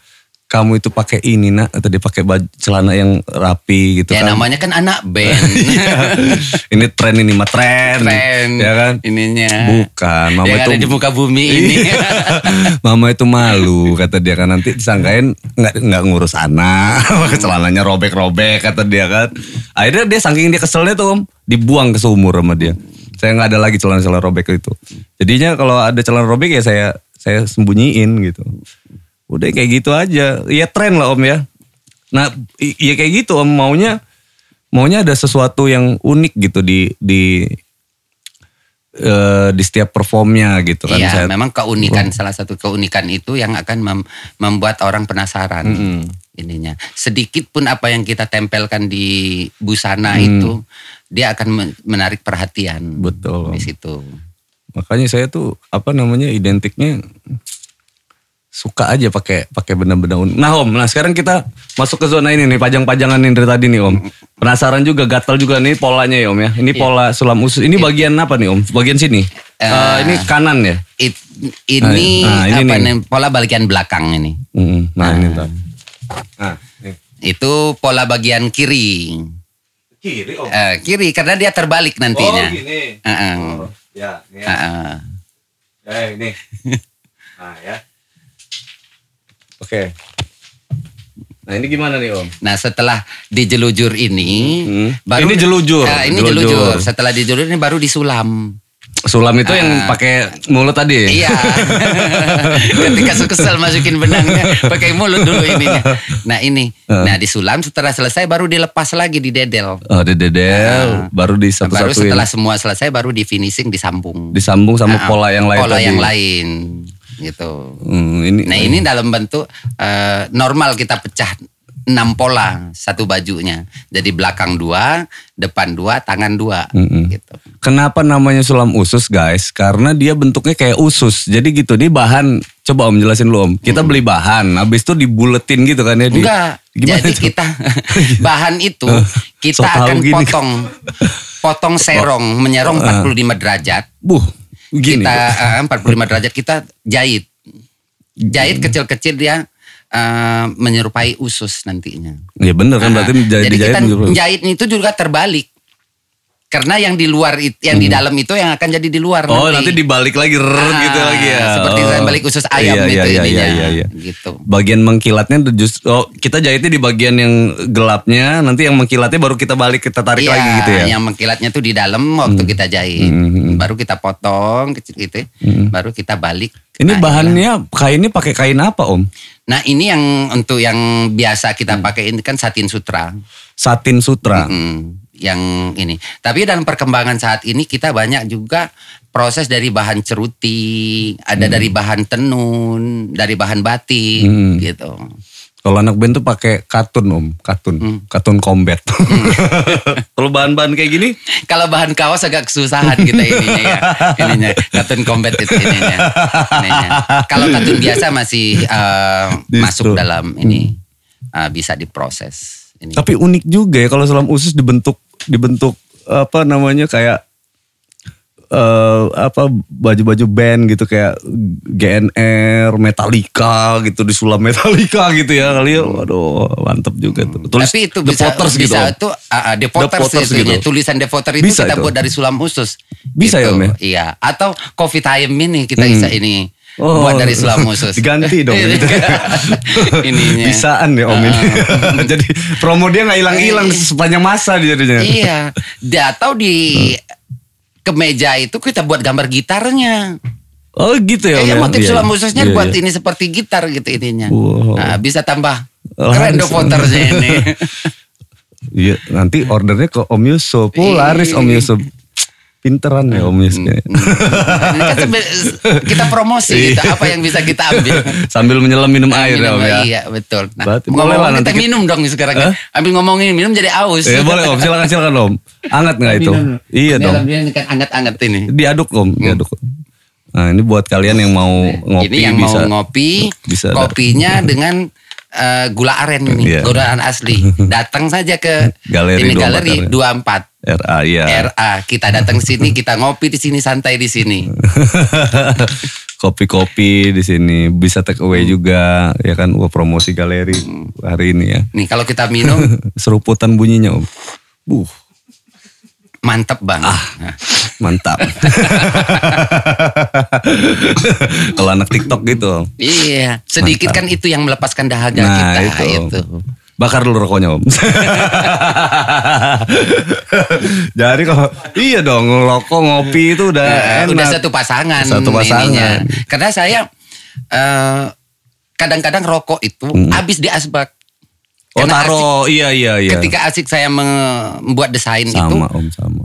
Kamu itu pakai ini nak atau dia pakai baju, celana yang rapi gitu
Ya
kan.
namanya kan anak band.
Iya. ini tren ini mah tren,
Tren
ya kan?
ininya.
Bukan, Iya. mama
Yang
itu
ada di muka bumi ini.
Mama itu malu kata dia kan nanti disangkain nggak nggak ngurus anak, celananya robek-robek kata dia kan. Akhirnya dia saking dia keselnya tuh om dibuang ke sumur sama dia. Saya nggak ada lagi celana-celana robek itu. Jadinya kalau ada celana robek ya saya saya sembunyiin gitu. Udah kayak gitu aja. Ya tren lah om ya. Nah i- ya kayak gitu om maunya maunya ada sesuatu yang unik gitu di di eh, di setiap performnya gitu kan.
Iya,
Saya- Oh.
memang keunikan salah satu keunikan itu yang akan mem- membuat orang penasaran. Ininya. Sedikit pun apa yang kita tempelkan di busana
Mm.
itu dia akan men- menarik perhatian.
Betul.
Di situ.
Makanya saya tuh apa namanya identiknya suka aja pakai pakai benda-benda unik. Nah Om, nah sekarang kita masuk ke zona ini nih pajang-pajangan yang dari tadi nih Om. Penasaran juga, gatal juga nih polanya ya Om ya. Ini
Iya.
pola sulam usus. Ini bagian apa nih Om? Bagian sini. Eh, ini kanan ya.
It- ini
Nah, ini
apa
nih.
nih, pola bagian belakang ini.
Mm,
Eh.
Nah, ini ntar. Nah, ini.
Itu pola bagian kiri.
Kiri om.
Eh, kiri karena dia terbalik
Oh
nantinya.
gini.
Heeh.
Oh, ya, ini ya.
Heeh.
Eh, ini. Nah ya. Oke. Nah ini gimana nih om?
Nah setelah dijelujur ini, baru
Hmm. ini jelujur.
Nah, ini jelujur. Setelah dijelujur ini baru disulam.
Sulam itu yang pakai mulut tadi.
Eh. Iya. Ketika kesel masukin benangnya pakai mulut dulu ininya. Nah ini,
Ah.
nah disulam setelah selesai baru dilepas lagi di dedel.
Oh, dedel, baru di
Eh. Baru
satu-satuin.
setelah semua selesai baru di finishing disambung.
Disambung sama
Nah,
pola yang lain
Pola
tadi.
yang lain, gitu.
Hmm, ini,
Nah ini dalam bentuk eh, normal kita pecah enam pola satu bajunya. Jadi belakang dua, depan dua, tangan dua,
Mm-mm.
gitu.
Kenapa namanya sulam usus guys? Karena dia bentuknya kayak usus. Jadi gitu, dia bahan. Coba om jelasin lu om. Kita beli bahan, habis itu dibuletin gitu kan ya. di-
Hmm. Enggak.
Gimana
Jadi
tuh?
kita bahan itu kita
so tahu
akan
gini.
potong potong serong menyerong 45 derajat.
Buh, gini.
Kita eh, 45 derajat kita jahit. Jahit
Hmm.
kecil-kecil dia eh, menyerupai usus nantinya.
Ya bener kan berarti gitu
Nah,
jadi,
jadi
dijahit
kita
menjadi-
jahit itu juga terbalik. Karena yang di luar it- yang di dalam itu yang akan jadi di luar
Hmm. Oh nanti dibalik lagi rrrt
Ah,
gitu lagi ya.
Seperti
Oh.
balik usus ayam
Iya,
gitu
iya, iya,
ininya.
iya, iya.
Gitu.
Bagian mengkilatnya tuh just oh kita jahitnya di bagian yang gelapnya, nanti yang mengkilatnya baru kita balik kita tarik
Iya,
lagi gitu ya. Hmm.
Yang mengkilatnya tuh di dalam waktu kita jahit, baru kita potong kecil gitu, baru kita balik.
Hmm. Ini
Nah,
bahannya kainnya pakai kain apa om?
Nah ini yang untuk yang biasa kita
Hmm.
pakai ini kan satin sutra,
Satin sutra.
Hmm, yang ini. Tapi dalam perkembangan saat ini kita banyak juga proses dari bahan ceruti, ada dari bahan tenun, dari bahan batik gitu.
Kalau anak band tuh pakai katun om, katun, katun combat. Mm. Kalau bahan-bahan kayak gini,
Kalau bahan kaos agak kesusahan kita ininya ya. Ininya katun combat itu ininya. Ininya. Kalau katun biasa masih eh,
Distro.
masuk dalam ini eh, bisa diproses ini.
tapi unik juga ya kalau selam usus dibentuk dibentuk apa namanya kayak eh apa baju-baju band gitu kayak GNR, Metallica gitu disulam Metallica gitu ya kali ya. Waduh, mantep juga tuh. Tulis
Tapi itu
The
bisa,
Potters gitu.
bisa
Om.
itu ah, ah, The Potters
Potters
itu
gitu.
ya. tulisan The Potter itu
Bisa
kita
itu.
buat dari sulam khusus.
Bisa ya, Om, ya?
Iya. Atau Coffee Time ini kita bisa ini
Oh.
buat dari sulam khusus. Iya.
Diganti dong, gitu.
Ininya. Ah.
Bisaan ya Om ini. Jadi promo dia nggak hilang-hilang sepanjang masa dia jadinya.
iya. Di- Atau di kemeja itu kita buat gambar gitarnya.
Oh gitu ya. Om
Kayaknya
ya?
motif
Iya,
sulam
iya.
khususnya
Iya,
buat
iya.
ini seperti gitar gitu ininya.
Wow.
Nah, bisa tambah
Laris.
keren The Pottersnya ini.
Iya, nanti ordernya ke Om Yusuf.
Iya.
Oh, laris Om Yusuf. Pinteran ya Om Yusuf.
Mm, Ini kan sembe- kita promosi
Iya.
gitu apa yang bisa kita ambil.
Sambil menyelam minum air ya Om
Minum,
ya.
Iya betul. Nah,
Berarti boleh
ngomong
lah
kita
nanti kita-
minum dong sekarang. ya.
Hah?
Ambil ngomongin minum jadi aus.
Ya boleh Om, silakan silakan Om. Angat nggak itu? Iya
Ini
dong.
dalam Ini kan anget-anget ini.
Diaduk Om, diaduk. Nah, ini buat kalian yang mau ngopi
Mm. ini yang
bisa.
mau ngopi,
bisa ada.
kopinya dengan eh, gula aren ini,
Iya.
gula aren asli. Datang saja ke
Galeri
ini
24
galeri
ya.
24
RA ya.
RA. Kita datang sini, kita ngopi di sini, santai di sini.
Kopi-kopi di sini bisa take away
Hmm.
juga ya kan Wah, promosi galeri hari ini ya.
Nih kalau kita minum
Seruputan bunyinya Om. Uh, Buh,
mantep banget.
Ah.
Nah.
Mantap. Kalau anak TikTok gitu.
Iya, sedikit kan itu yang melepaskan dahaga
Nah,
Ya, kita gitu.
itu.
itu.
Bakar dulu rokoknya om. Jadi kalau iya dong ngerokok ngopi itu udah
Nah,
enak.
udah satu pasangan
Satu pasangan.
Karena saya eh, kadang-kadang rokok itu habis di asbak.
Hmm. Oh
Karena asik-
taro iya iya iya.
Ketika asik saya me- membuat desain itu
sama om sama.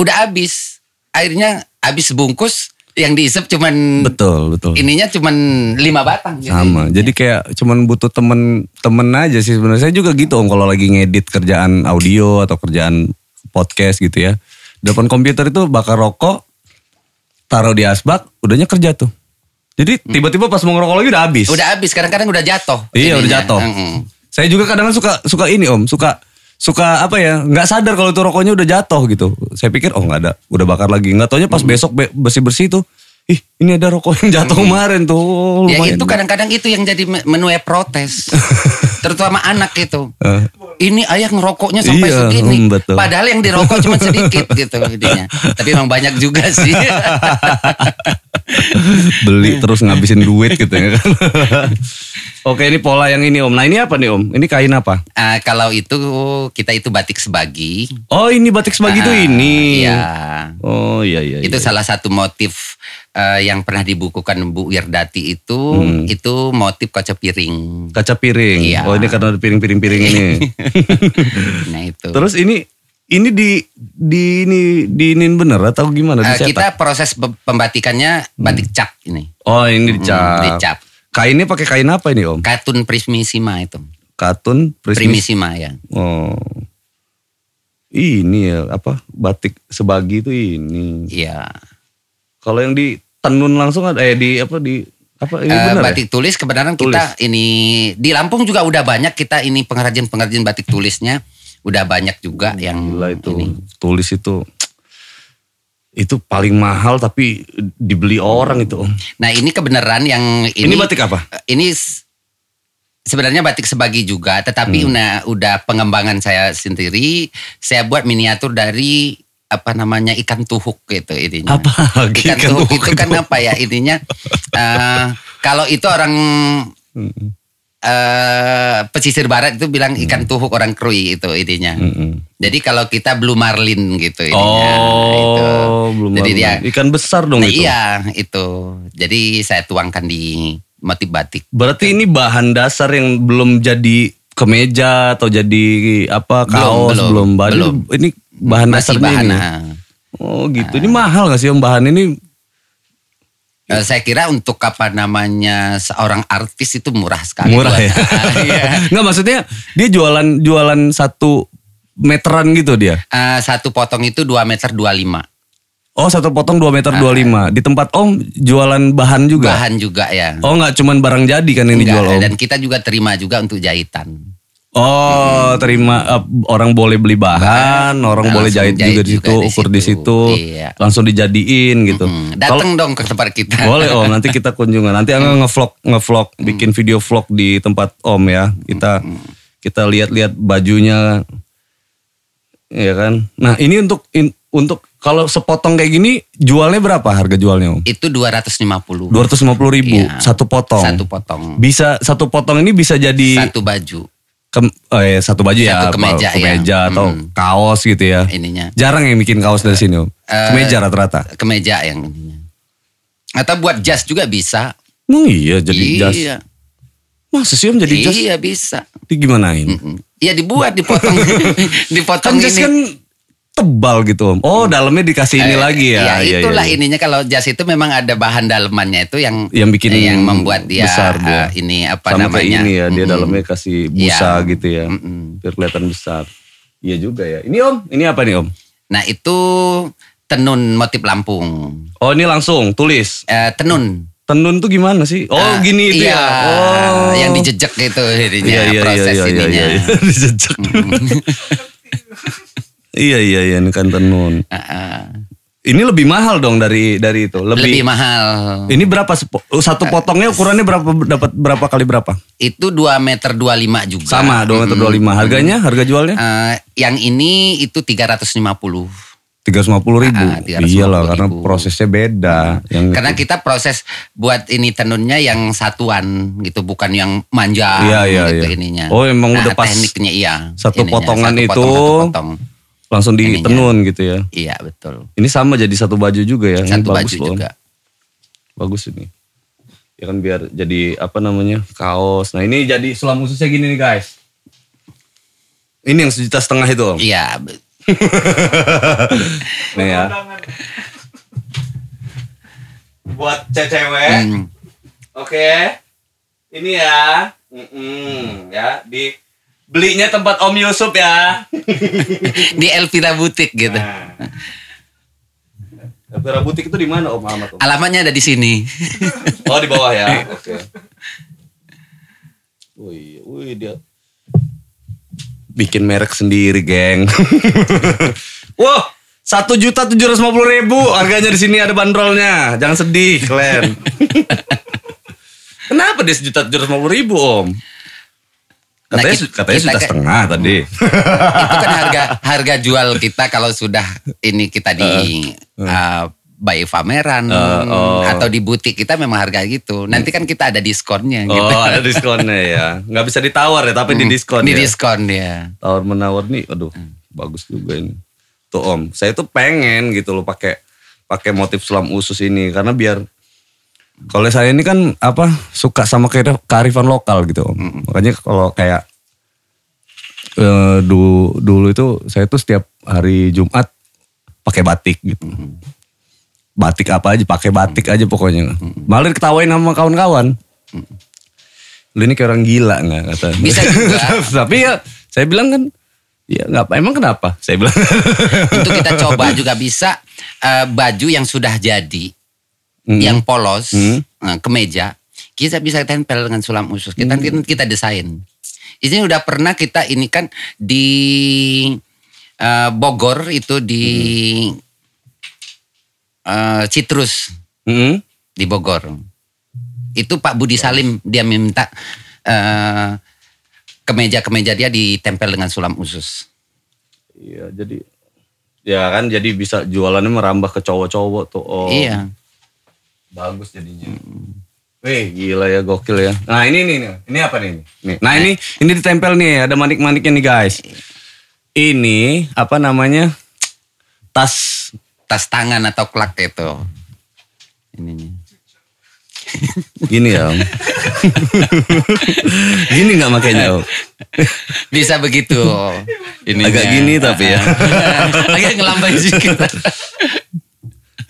udah habis. Akhirnya habis bungkus yang diisep cuman
Betul betul.
ininya cuman lima batang gitu.
sama jadi kayak cuman butuh temen temen aja sih sebenarnya saya juga gitu om kalau lagi ngedit kerjaan audio atau kerjaan podcast gitu ya depan komputer itu bakar rokok taruh di asbak udahnya kerja tuh jadi tiba-tiba pas mau ngerokok lagi udah habis
Hmm. Udah Hmm, habis, kadang-kadang udah jatuh.
iya udah
ininya.
jatuh
Mm-mm.
saya juga kadang suka suka ini om suka suka apa ya nggak sadar kalau itu rokoknya udah jatuh gitu saya pikir oh nggak ada udah bakar lagi nggak taunya
Hmm.
pas besok bersih bersih tuh ih ini ada rokok yang jatuh kemarin tuh Oh,
Ya
lumayan.
itu kadang-kadang itu yang jadi me- menuai protes. Terutama ya, anak itu.
Eh.
ini ayah ngerokoknya sampai
Iya,
segini.
mm, betul.
Padahal yang dirokok cuma sedikit gitu jadinya. Tapi memang banyak juga sih.
beli terus ngabisin duit gitu ya kan. Oke ini pola yang ini om. Nah ini apa nih om? Ini kain apa?
Ah, kalau itu kita itu batik sebagi.
Oh ini batik sebagi tuh
Ah,
ini.
Iya.
Oh iya iya.
Itu
iya.
salah satu motif eh, yang pernah dibukukan Bu Wirdati itu
Hmm.
itu motif kaca piring.
kaca piring.
Iya.
Oh ini karena ada piring-piring-piring ini.
Nah itu.
terus ini ini di di ini diinin bener atau gimana?
Eh,
Dicetak?
kita proses pe- pembatikannya batik cap ini.
Oh ini dicap.
Hmm, dicap.
Kainnya pakai kain apa ini om?
Katun Prismisima itu.
Katun, prismis.
Primisima ya.
Oh. Ini ya apa batik sebagi itu ini.
Iya.
Kalau yang di tenun langsung ada eh di apa di apa ini
Eh,
benar ya?
batik tulis kebenaran kita ini di Lampung juga udah banyak kita ini pengrajin-pengrajin batik tulisnya udah banyak juga yang
Hmm, Gila itu
ini.
tulis itu itu paling mahal tapi dibeli orang itu om.
Nah, ini kebenaran yang
Ini,
ini eh,
batik apa?
ini s- sebenarnya batik sebagi juga, tetapi
Hmm.
una- udah pengembangan saya sendiri, saya buat miniatur dari apa namanya ikan tuhuk gitu ininya.
Apa lagi
Ikan,
ikan
tuhuk,
tuhuk
itu kan apa ya intinya? eh, kalau itu orang eh pesisir barat itu bilang
Hmm.
ikan tuhuk orang krui itu ininya.
Mm-mm.
Jadi kalau kita blue marlin gitu ininya. itu.
Oh, belum.
Jadi
lama.
dia
ikan besar dong
Nah,
itu.
iya itu. Jadi saya tuangkan di motif batik.
Berarti ini bahan dasar yang belum jadi kemeja atau jadi apa
Belum,
kaos
belum,
belum, bahan
belum.
ini bahan
Masih
dasarnya
bahan. Nah.
ini.
ah.
Oh gitu. Ini mahal gak sih om bahan ini?
Eh, saya kira untuk apa namanya seorang artis itu murah sekali.
Murah
buat-
ya.
Iya.
Nggak maksudnya dia jualan jualan satu meteran gitu dia.
Eh, satu potong itu 2 meter 25.
Oh satu potong 2 meter 25 Di tempat om jualan bahan juga.
Bahan juga ya.
Oh nggak cuman barang jadi kan yang
Enggak,
dijual om.
dan kita juga terima juga untuk jahitan.
Oh terima eh, orang boleh beli bahan, orang
Langsung
boleh jahit, juga
jahit
di
juga
situ,
di
ukur di
situ.
situ,
Iya.
langsung dijadiin gitu.
Hmm, datang dong ke tempat kita.
Boleh Om, nanti kita kunjungan. Nanti Angga ngevlog, ngevlog,
Hmm.
bikin video vlog di tempat Om ya. Kita kita lihat-lihat bajunya, ya kan. Nah ini untuk in- untuk kalau sepotong kayak gini jualnya berapa harga jualnya Om?
Itu 250.
Dua ratus ribu
Iya.
satu potong.
Satu potong.
Bisa satu potong ini bisa jadi
Satu baju
kem- eh, satu baju ya,
Satu kemeja
apa, kemeja
ya.
atau
Hmm. Eh,
kaos gitu ya.
ininya.
Jarang yang bikin kaos dari sini Om. Kemeja rata-rata.
Kemeja yang ininya. Atau buat jas juga bisa.
Emang iya jadi jas.
Iya.
Masa sih Om jadi jas?
Iya bisa.
Digimanain?
Mm. Iya dibuat dipotong dipotong
kan jas
ini.
kan tebal gitu om. Oh dalamnya dikasih ini
Eh,
lagi ya.
iya,
Iya,
itulah
iya, iya.
ininya kalau jas itu memang ada bahan dalemannya itu yang
Yang bikin
eh, yang membuat dia,
besar dia.
eh, ini apa
Sama kayak
namanya?
ini ya dia
Mm-mm.
dalamnya kasih busa
Iya.
gitu ya.
Mm-mm.
Biar kelihatan besar. Iya juga ya. Ini om, ini apa nih om?
Nah itu tenun motif Lampung.
Oh ini langsung tulis.
Eh, tenun.
Tenun tuh gimana sih? Oh
Ah,
gini itu
iya,
ya. Oh.
Yang dijejek gitu jadinya
Iya, iya,
proses
iya, iya,
ininya.
iya, iya. Dijejak. Iya iya iya ini kan tenun.
Ah, ah.
Ini lebih mahal dong dari dari itu.
Lebih
Lebih,
mahal.
ini berapa sepo- satu potongnya ukurannya berapa dapat berapa kali berapa?
Itu 2 meter 25 juga.
Sama 2 meter 25 Harganya, harga jualnya?
Eh, yang ini itu 350.
350 ribu
Ah, 350.000.
Iyalah karena prosesnya beda Ya, yang
Karena kita proses buat ini tenunnya yang satuan gitu, bukan yang manja
Iya, iya,
gitu
iya.
ininya.
Oh, emang
Nah,
udah pas
tekniknya iya.
satu
ininya,
potongan
satu
itu.
potong, satu potong.
langsung ditenun gitu ya
Iya, betul.
Ini sama jadi satu baju juga ya Ini
Satu
bagus
baju
loh.
juga.
Bagus ini Ya kan biar jadi apa namanya Kaos Nah ini jadi selam khususnya gini nih guys Ini yang sejuta setengah itu om
Iya, be-
Nih ya Buat cewek
hmm.
Oke. Ini ya. Mm-mm, ya, di belinya tempat Om Yusuf ya.
di Elvira Butik gitu.
Nah. Elvira Butik itu di mana Om Ahmad? Om?
Alamatnya ada di sini.
Oh, di bawah ya. Oke. Wih, wih dia bikin merek sendiri, geng. Wah, satu juta tujuh ratus lima puluh ribu harganya di sini ada bandrolnya. Jangan sedih, kalian. Kenapa dia sejuta tujuh ratus lima puluh ribu, Om? Katanya,
kit-
su- katanya
kita
sudah
ke-
setengah tadi.
itu kan harga harga jual kita kalau sudah ini kita di uh, bayi pameran
Eh, oh.
atau di butik kita memang harga gitu. Nanti kan kita ada diskonnya gitu.
Oh ada diskonnya ya. Nggak bisa ditawar ya tapi di diskon ya.
di diskon ya.
Tawar menawar nih aduh bagus juga ini. Tuh om saya tuh pengen gitu loh pakai pakai motif selam usus ini. Karena biar kalau saya ini kan apa suka sama kearif- kearifan lokal gitu om. Makanya kalau kayak eh, du- dulu itu saya tuh setiap hari Jumat pakai batik gitu. Batik apa aja, pakai batik aja pokoknya. Malah diketawain sama kawan-kawan. Lu ini kayak orang gila nggak kata.
Bisa juga.
Tapi ya saya bilang kan ya nggak apa- emang kenapa? Saya bilang.
Untuk kita coba juga bisa eh, baju yang sudah jadi, yang polos, eh, kemeja, kita bisa tempel dengan sulam usus. Kita nanti kita desain. Ini udah pernah kita ini kan di eh, Bogor itu di eh, Citrus
Mm-mm.
di Bogor. Itu Pak Budi Salim dia minta eh, kemeja-kemeja dia ditempel dengan sulam usus.
Iya, jadi ya kan jadi bisa jualannya merambah ke cowok-cowok tuh. Oh.
Iya.
Bagus jadinya. Wih, gila ya gokil ya. Nah, ini nih, nih. ini apa nih? Nih. Nah, ini ini ditempel nih, ada manik-maniknya nih, guys. Ini apa namanya? Tas
tas tangan atau klak itu. Ininya.
gini ya. Om. gini nggak makanya? Om?
Bisa begitu. Ininya.
Agak gini tapi ya.
Agak ngelambai sedikit.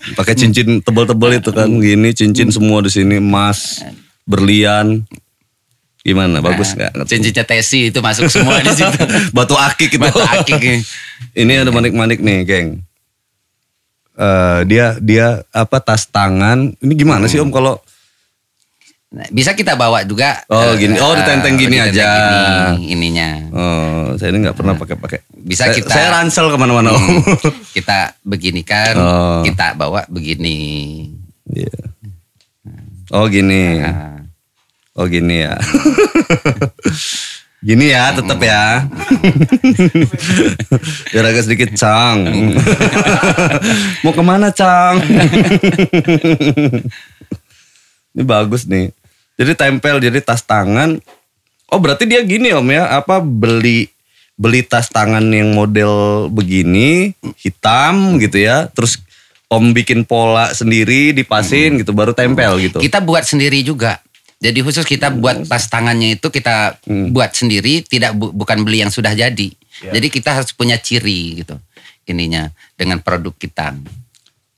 Pakai cincin tebel-tebel itu kan gini, cincin semua di sini emas, berlian. Gimana? Bagus nggak?
Cincinnya Nah, tesi itu masuk semua di situ.
Batu akik gitu.
Batu akik.
Ini ada manik-manik nih, geng. Eh, dia dia apa tas tangan? Ini gimana sih om kalau
Nah, Bisa kita bawa juga.
Oh,
eh,
gini. Oh, ditenteng
eh,
gini
ditenteng
aja.
gini, ininya.
eh, saya ini nggak pernah pakai-pakai.
Nah, Bisa
Saya-
kita- Hmm.
Saya ransel kemana-mana om.
Kita beginikan,
Oh.
kita bawa begini.
Iya. Oh gini.
Nah,
Oh gini ya. gini ya, tetap ya. Biar agak sedikit cang. Mau kemana cang? Ini bagus nih. Jadi tempel, jadi tas tangan. Oh berarti dia gini om ya, apa beli beli tas tangan yang model begini hitam gitu ya, terus om bikin pola sendiri dipasin gitu, baru tempel gitu. Hmm.
Kita buat sendiri juga. Jadi khusus kita buat tas tangannya itu kita buat sendiri, tidak bu- bukan beli yang sudah jadi.
Ya.
Jadi kita harus punya ciri gitu ininya dengan produk kita.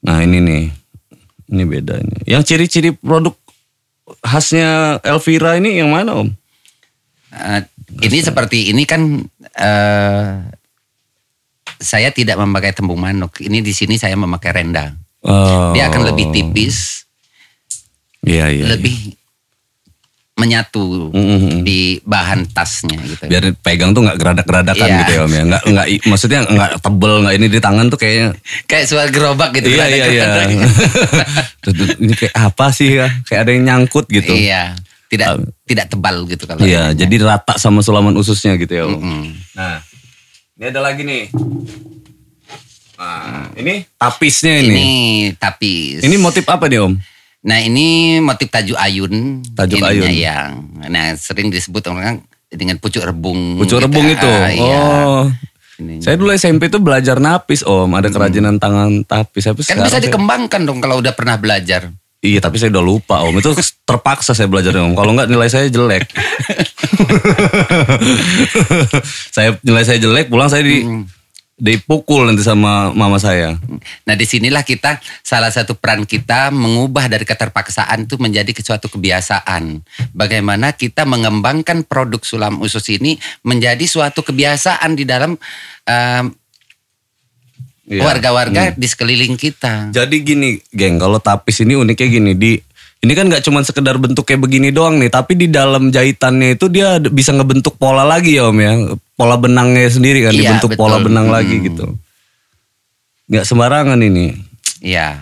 Nah ini nih, ini bedanya. Yang ciri-ciri produk khasnya Elvira ini yang mana om?
Eh, ini seperti ini kan eh, saya tidak memakai tembung manuk. Ini di sini saya memakai rendang. Dia akan lebih tipis,
Oh. Iya iya.
lebih menyatu
Mm-mm.
di bahan tasnya gitu.
Biar pegang tuh nggak geradak-geradakan
Iya.
gitu ya om ya. Nggak nggak i- maksudnya nggak tebel nggak ini di tangan tuh kayaknya.
Kayak suara gerobak gitu.
iya
kan,
iya
ada
iya.
gerobak.
Tuh, tuh, ini kayak apa sih ya? Kayak ada yang nyangkut gitu. Iya.
Iya, tidak tidak tebal gitu kalau.
jadi rata sama sulaman ususnya gitu ya om.
Mm.
Nah, ini ada lagi nih. Nah, ini tapisnya
Ini,
ini.
tapis.
Ini motif apa nih om?
Nah ini motif taju ayun.
Tajuk
Ininya
ayun.
Yang, nah sering disebut orang kan dengan pucuk rebung.
Pucuk
gitu.
rebung itu.
Ah, iya.
Oh.
Ini.
Saya dulu SMP itu belajar napis om, ada kerajinan tangan tapis. Tapi
Hmm. Kan
sekarang
bisa
saya-
dikembangkan dong kalau udah pernah belajar.
Iya, tapi saya udah lupa om. Itu terpaksa saya belajar om. Kalau nggak nilai saya jelek. saya nilai saya jelek, pulang saya di
Hmm.
dipukul nanti sama mama saya.
Nah disinilah kita salah satu peran kita mengubah dari keterpaksaan itu menjadi ke suatu kebiasaan. Bagaimana kita mengembangkan produk sulam usus ini menjadi suatu kebiasaan di dalam ehm, em,
Iya.
Oh, warga-warga di sekeliling kita.
Jadi gini, geng, kalau tapis ini uniknya gini di ini kan nggak cuma sekedar bentuk kayak begini doang nih, tapi di dalam jahitannya itu dia ada- bisa ngebentuk pola lagi ya om ya, pola benangnya sendiri kan
Iya,
dibentuk
betul.
pola benang
Hmm.
lagi gitu. Nggak sembarangan ini.
Iya.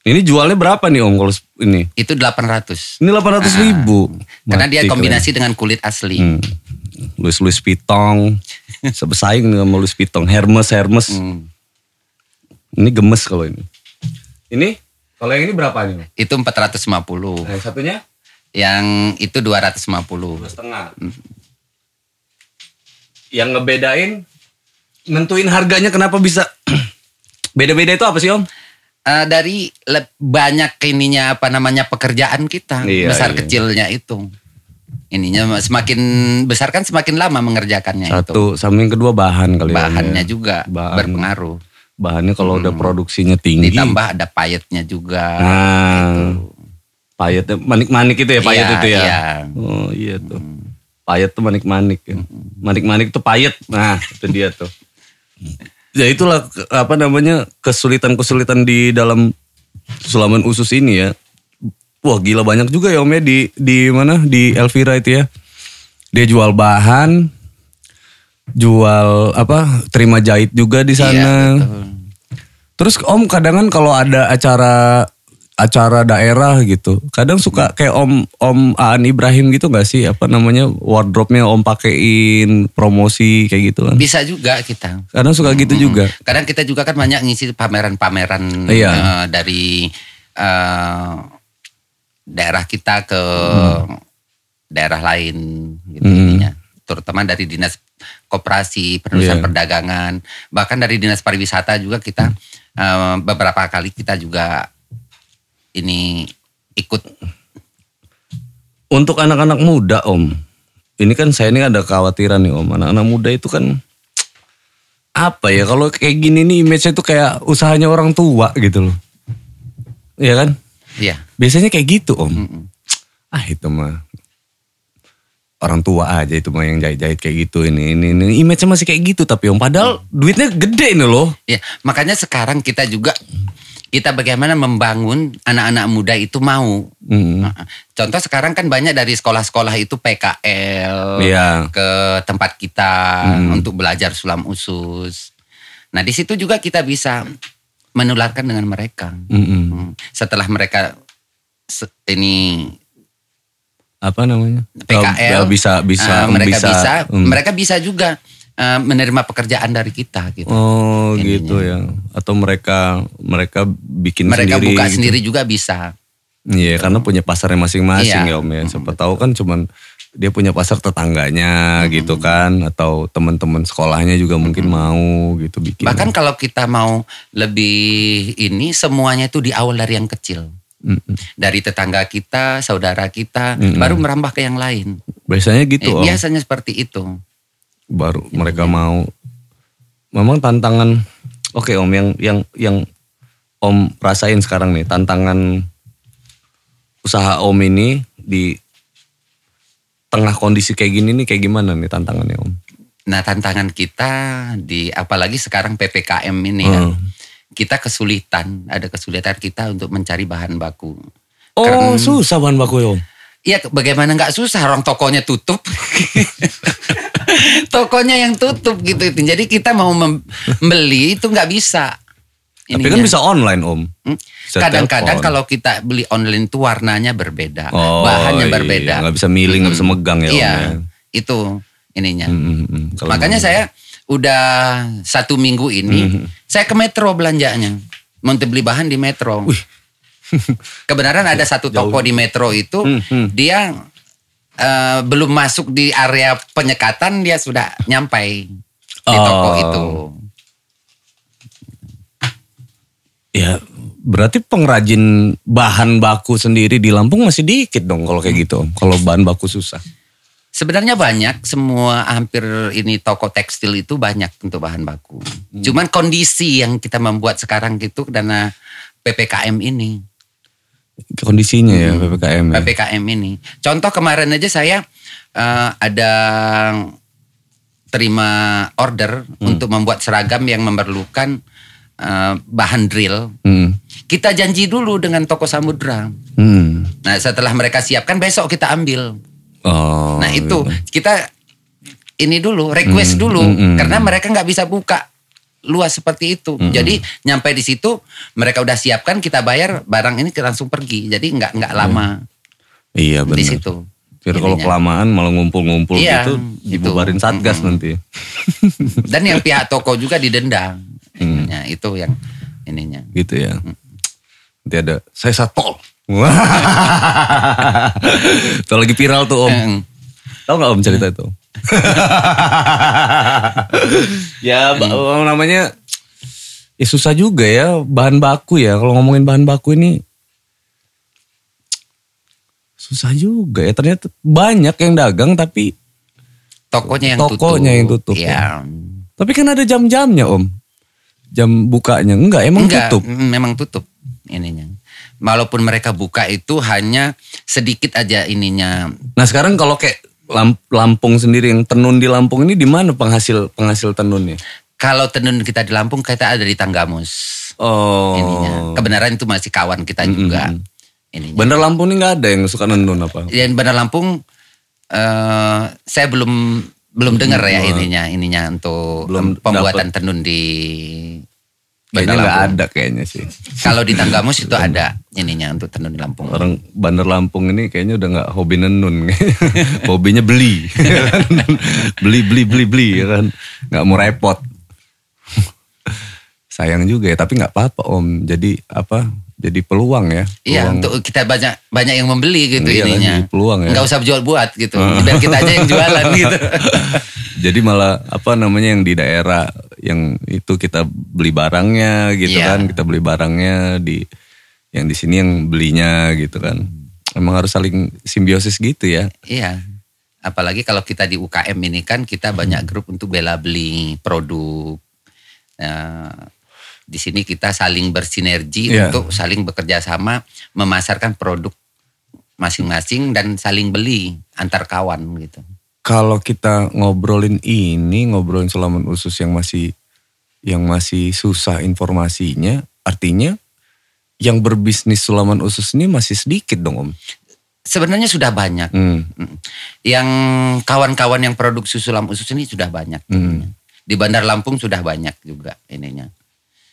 Ini jualnya berapa nih om kalau sep- ini?
Itu 800.
Ini 800 ribu.
Ah, Karena
Mati
dia
kalian.
kombinasi dengan kulit asli.
Hmm. Louis-Louis Pitong. Sebesaing dengan Louis Pitong. Hermes, Hermes.
Hmm.
Ini gemes kalau ini. Ini? Kalau yang ini berapa nih? Om?
Itu 450.
Nah, yang satunya?
Yang itu 250.
Dua setengah. Yang ngebedain, nentuin harganya kenapa bisa beda-beda itu apa sih om?
Eh, dari le- banyak ininya apa namanya pekerjaan kita.
Iya,
besar
iya.
kecilnya itu. Ininya semakin besar kan semakin lama mengerjakannya itu.
Satu, sama yang kedua bahan kali ya, Om, ya.
Bahannya juga
Bahan.
berpengaruh.
Bahannya kalau udah produksinya tinggi.
Ditambah ada payetnya juga.
Nah, payetnya manik-manik itu ya payet
Iya,
itu ya.
iya.
Oh iya tuh. Payet tuh manik-manik ya. Manik-manik tuh payet. Nah, itu dia tuh. Ya itulah ke- apa namanya kesulitan-kesulitan di dalam sulaman usus ini ya. Wah gila banyak juga ya Om ya di di mana di Elvira itu ya. Dia jual bahan, jual apa terima jahit juga
Iya,
di sana. Terus om kadang kan kalau ada acara acara daerah gitu, kadang suka kayak om om Aan Ibrahim gitu nggak sih apa namanya wardrobe-nya om pakein promosi kayak gitu kan.
Bisa juga kita.
Kadang suka gitu juga.
Kadang kita juga kan banyak ngisi pameran-pameran
Iya.
eh, dari eh, daerah kita ke
Hmm.
daerah lain gitu intinya. Terutama dari dinas koperasi,
Iya.
penulisan
Hmm.
perdagangan, bahkan dari dinas pariwisata juga kita eh, beberapa kali kita juga ini ikut
Untuk anak-anak muda om, ini kan saya ini ada kekhawatiran nih om, anak-anak muda itu kan apa ya kalau kayak gini nih image-nya tuh kayak usahanya orang tua gitu loh. Iya kan?
ya
Biasanya kayak gitu om. Ah itu mah orang tua aja itu mah yang jahit-jahit kayak gitu ini ini ini image-nya masih kayak gitu tapi om padahal
Mm.
duitnya gede ini loh.
Ya, makanya sekarang kita juga kita bagaimana membangun anak-anak muda itu mau.
Mm.
Nah, Contoh sekarang kan banyak dari sekolah-sekolah itu PKL
Iya. Hmm.
ke tempat kita untuk belajar sulam usus. Nah, di situ juga kita bisa menularkan dengan mereka.
Mm-mm.
Hmm. Setelah mereka se- ini
Apa namanya?
PKL
Oh, bisa bisa
ah, mereka bisa,
mm.
mereka bisa juga eh, menerima pekerjaan dari kita gitu.
Oh gitu ya. Atau mereka mereka bikin
mereka
sendiri.
buka
gitu.
sendiri juga bisa.
Iya, karena punya pasarnya masing-masing
Iya.
ya Om ya. Siapa tahu kan cuman dia punya pasar tetangganya gitu kan atau teman-teman sekolahnya juga mungkin mau gitu bikin.
Bahkan kalau kita mau lebih ini semuanya itu di awal dari yang kecil.
Mm-mm.
Dari tetangga kita, saudara kita, baru merambah ke yang lain.
Biasanya
Eh, Iya,
gitu Om.
biasanya seperti itu.
Baru mereka mau memang tantangan Oke Om yang yang yang Om rasain sekarang nih tantangan usaha Om ini di tengah kondisi kayak gini nih kayak gimana nih tantangannya Om?
Nah, tantangan kita di apalagi sekarang PPKM ini ya.
Hmm.
Kita kesulitan, ada kesulitan kita untuk mencari bahan baku.
Oh,
Karena-
susah bahan baku ya, Om.
Iya, bagaimana nggak susah orang tokonya tutup. tokonya yang tutup gitu. Jadi kita mau membeli itu nggak bisa.
Tapi kan
Ininya.
bisa online om.
Hmm?
Bisa
Kadang-kadang
telepon.
kalau kita beli online tuh warnanya berbeda,
Oh,
bahannya
iya,
berbeda.
nggak bisa milih, nggak bisa megang ya, Om,
Iya,
ya.
itu ininya.
Mm, mm, mm. Kalau
Makanya saya udah satu minggu ini
Hmm.
saya ke Metro belanjanya, mau beli bahan di Metro. Kebenaran ada satu toko di Metro itu
Hmm,
dia eh, belum masuk di area penyekatan dia sudah nyampai di toko
Oh.
itu.
ya berarti pengrajin bahan baku sendiri di Lampung masih dikit dong kalau
Hmm.
kayak gitu om. Kalau bahan baku susah.
Sebenarnya banyak semua hampir ini toko tekstil itu banyak untuk bahan baku.
Hmm.
Cuman kondisi yang kita membuat sekarang gitu karena PPKM ini,
Kondisinya ya
Hmm.
ppkm. ya.
PPKM ini. Contoh kemarin aja saya eh, ada terima order
Hmm.
untuk membuat seragam yang memerlukan eh, bahan drill.
Hmm.
Kita janji dulu dengan toko Samudra.
Hmm.
Nah, setelah mereka siapkan besok kita ambil.
Oh.
Nah
Hmm,
itu kita ini dulu request dulu karena mereka nggak bisa buka luas seperti itu.
Hmm,
Jadi nyampe di situ mereka udah siapkan kita bayar barang ini langsung pergi. Jadi nggak nggak lama
Iya
di
benar.
situ.
Jadi kalau
Ininya.
kelamaan malah ngumpul-ngumpul
Iya,
gitu
gitu.
dibubarin satgas nanti. ya.
Dan yang pihak toko juga didenda. Ininya, itu yang ininya.
Gitu ya. Nanti ada saya satpol. Kalau lagi viral tuh Om.
Eh,
Tahu nggak Om cerita itu? ya ba- namanya ya susah juga ya bahan baku ya. Kalau ngomongin bahan baku ini susah juga ya. Ternyata banyak yang dagang tapi
Tokonya yang tutup.
Tokonya yang tutup,
Iya.
tapi kan ada jam-jamnya Om. Jam bukanya enggak emang
Enggak,
tutup.
mm, Memang tutup ininya. Walaupun mereka buka itu hanya sedikit aja ininya
Nah sekarang kalau kayak Lam- Lampung sendiri yang tenun di Lampung ini di mana penghasil penghasil tenunnya?
Kalau tenun kita di Lampung kita ada di Tanggamus.
Oh.
Ininya. Kebenaran itu masih kawan kita juga. Ininya.
Bandar Lampung ini nggak ada yang suka nenun apa?
Dan Bandar Lampung eh saya belum belum dengar ya ininya ininya untuk
Belum
pembuatan tenun di
Kayaknya
Bandar
nggak
Lampung.
ada kayaknya sih.
Kalau di Tanggamus itu ada ininya untuk tenun di Lampung.
Orang Bandar Lampung ini kayaknya udah nggak hobi nenun. Hobinya beli. beli, beli, beli, beli. ya kan. Nggak mau repot. Sayang juga ya, tapi nggak apa-apa om. Jadi apa, jadi peluang ya.
Iya,
Peluang.
untuk kita banyak banyak yang membeli gitu
Iya,
ininya.
lagi peluang ya.
Nggak usah jual buat gitu. Biar kita aja yang jualan gitu.
Jadi malah apa namanya yang di daerah yang itu kita beli barangnya gitu
Iya.
kan, kita beli barangnya di yang di sini yang belinya gitu kan. Emang harus saling simbiosis gitu ya.
Iya. Apalagi kalau kita di UKM ini kan kita banyak
Hmm.
grup untuk bela beli produk. Nah, di sini kita saling bersinergi
Iya.
untuk saling bekerja sama memasarkan produk masing-masing dan saling beli antar kawan gitu.
Kalau kita ngobrolin ini, ngobrolin sulaman usus yang masih yang masih susah informasinya, artinya yang berbisnis sulaman usus ini masih sedikit dong om.
Sebenarnya sudah banyak.
Hmm.
Mm. Yang kawan-kawan yang produksi sulam usus ini sudah banyak.
Hmm.
Di Bandar Lampung sudah banyak juga ininya.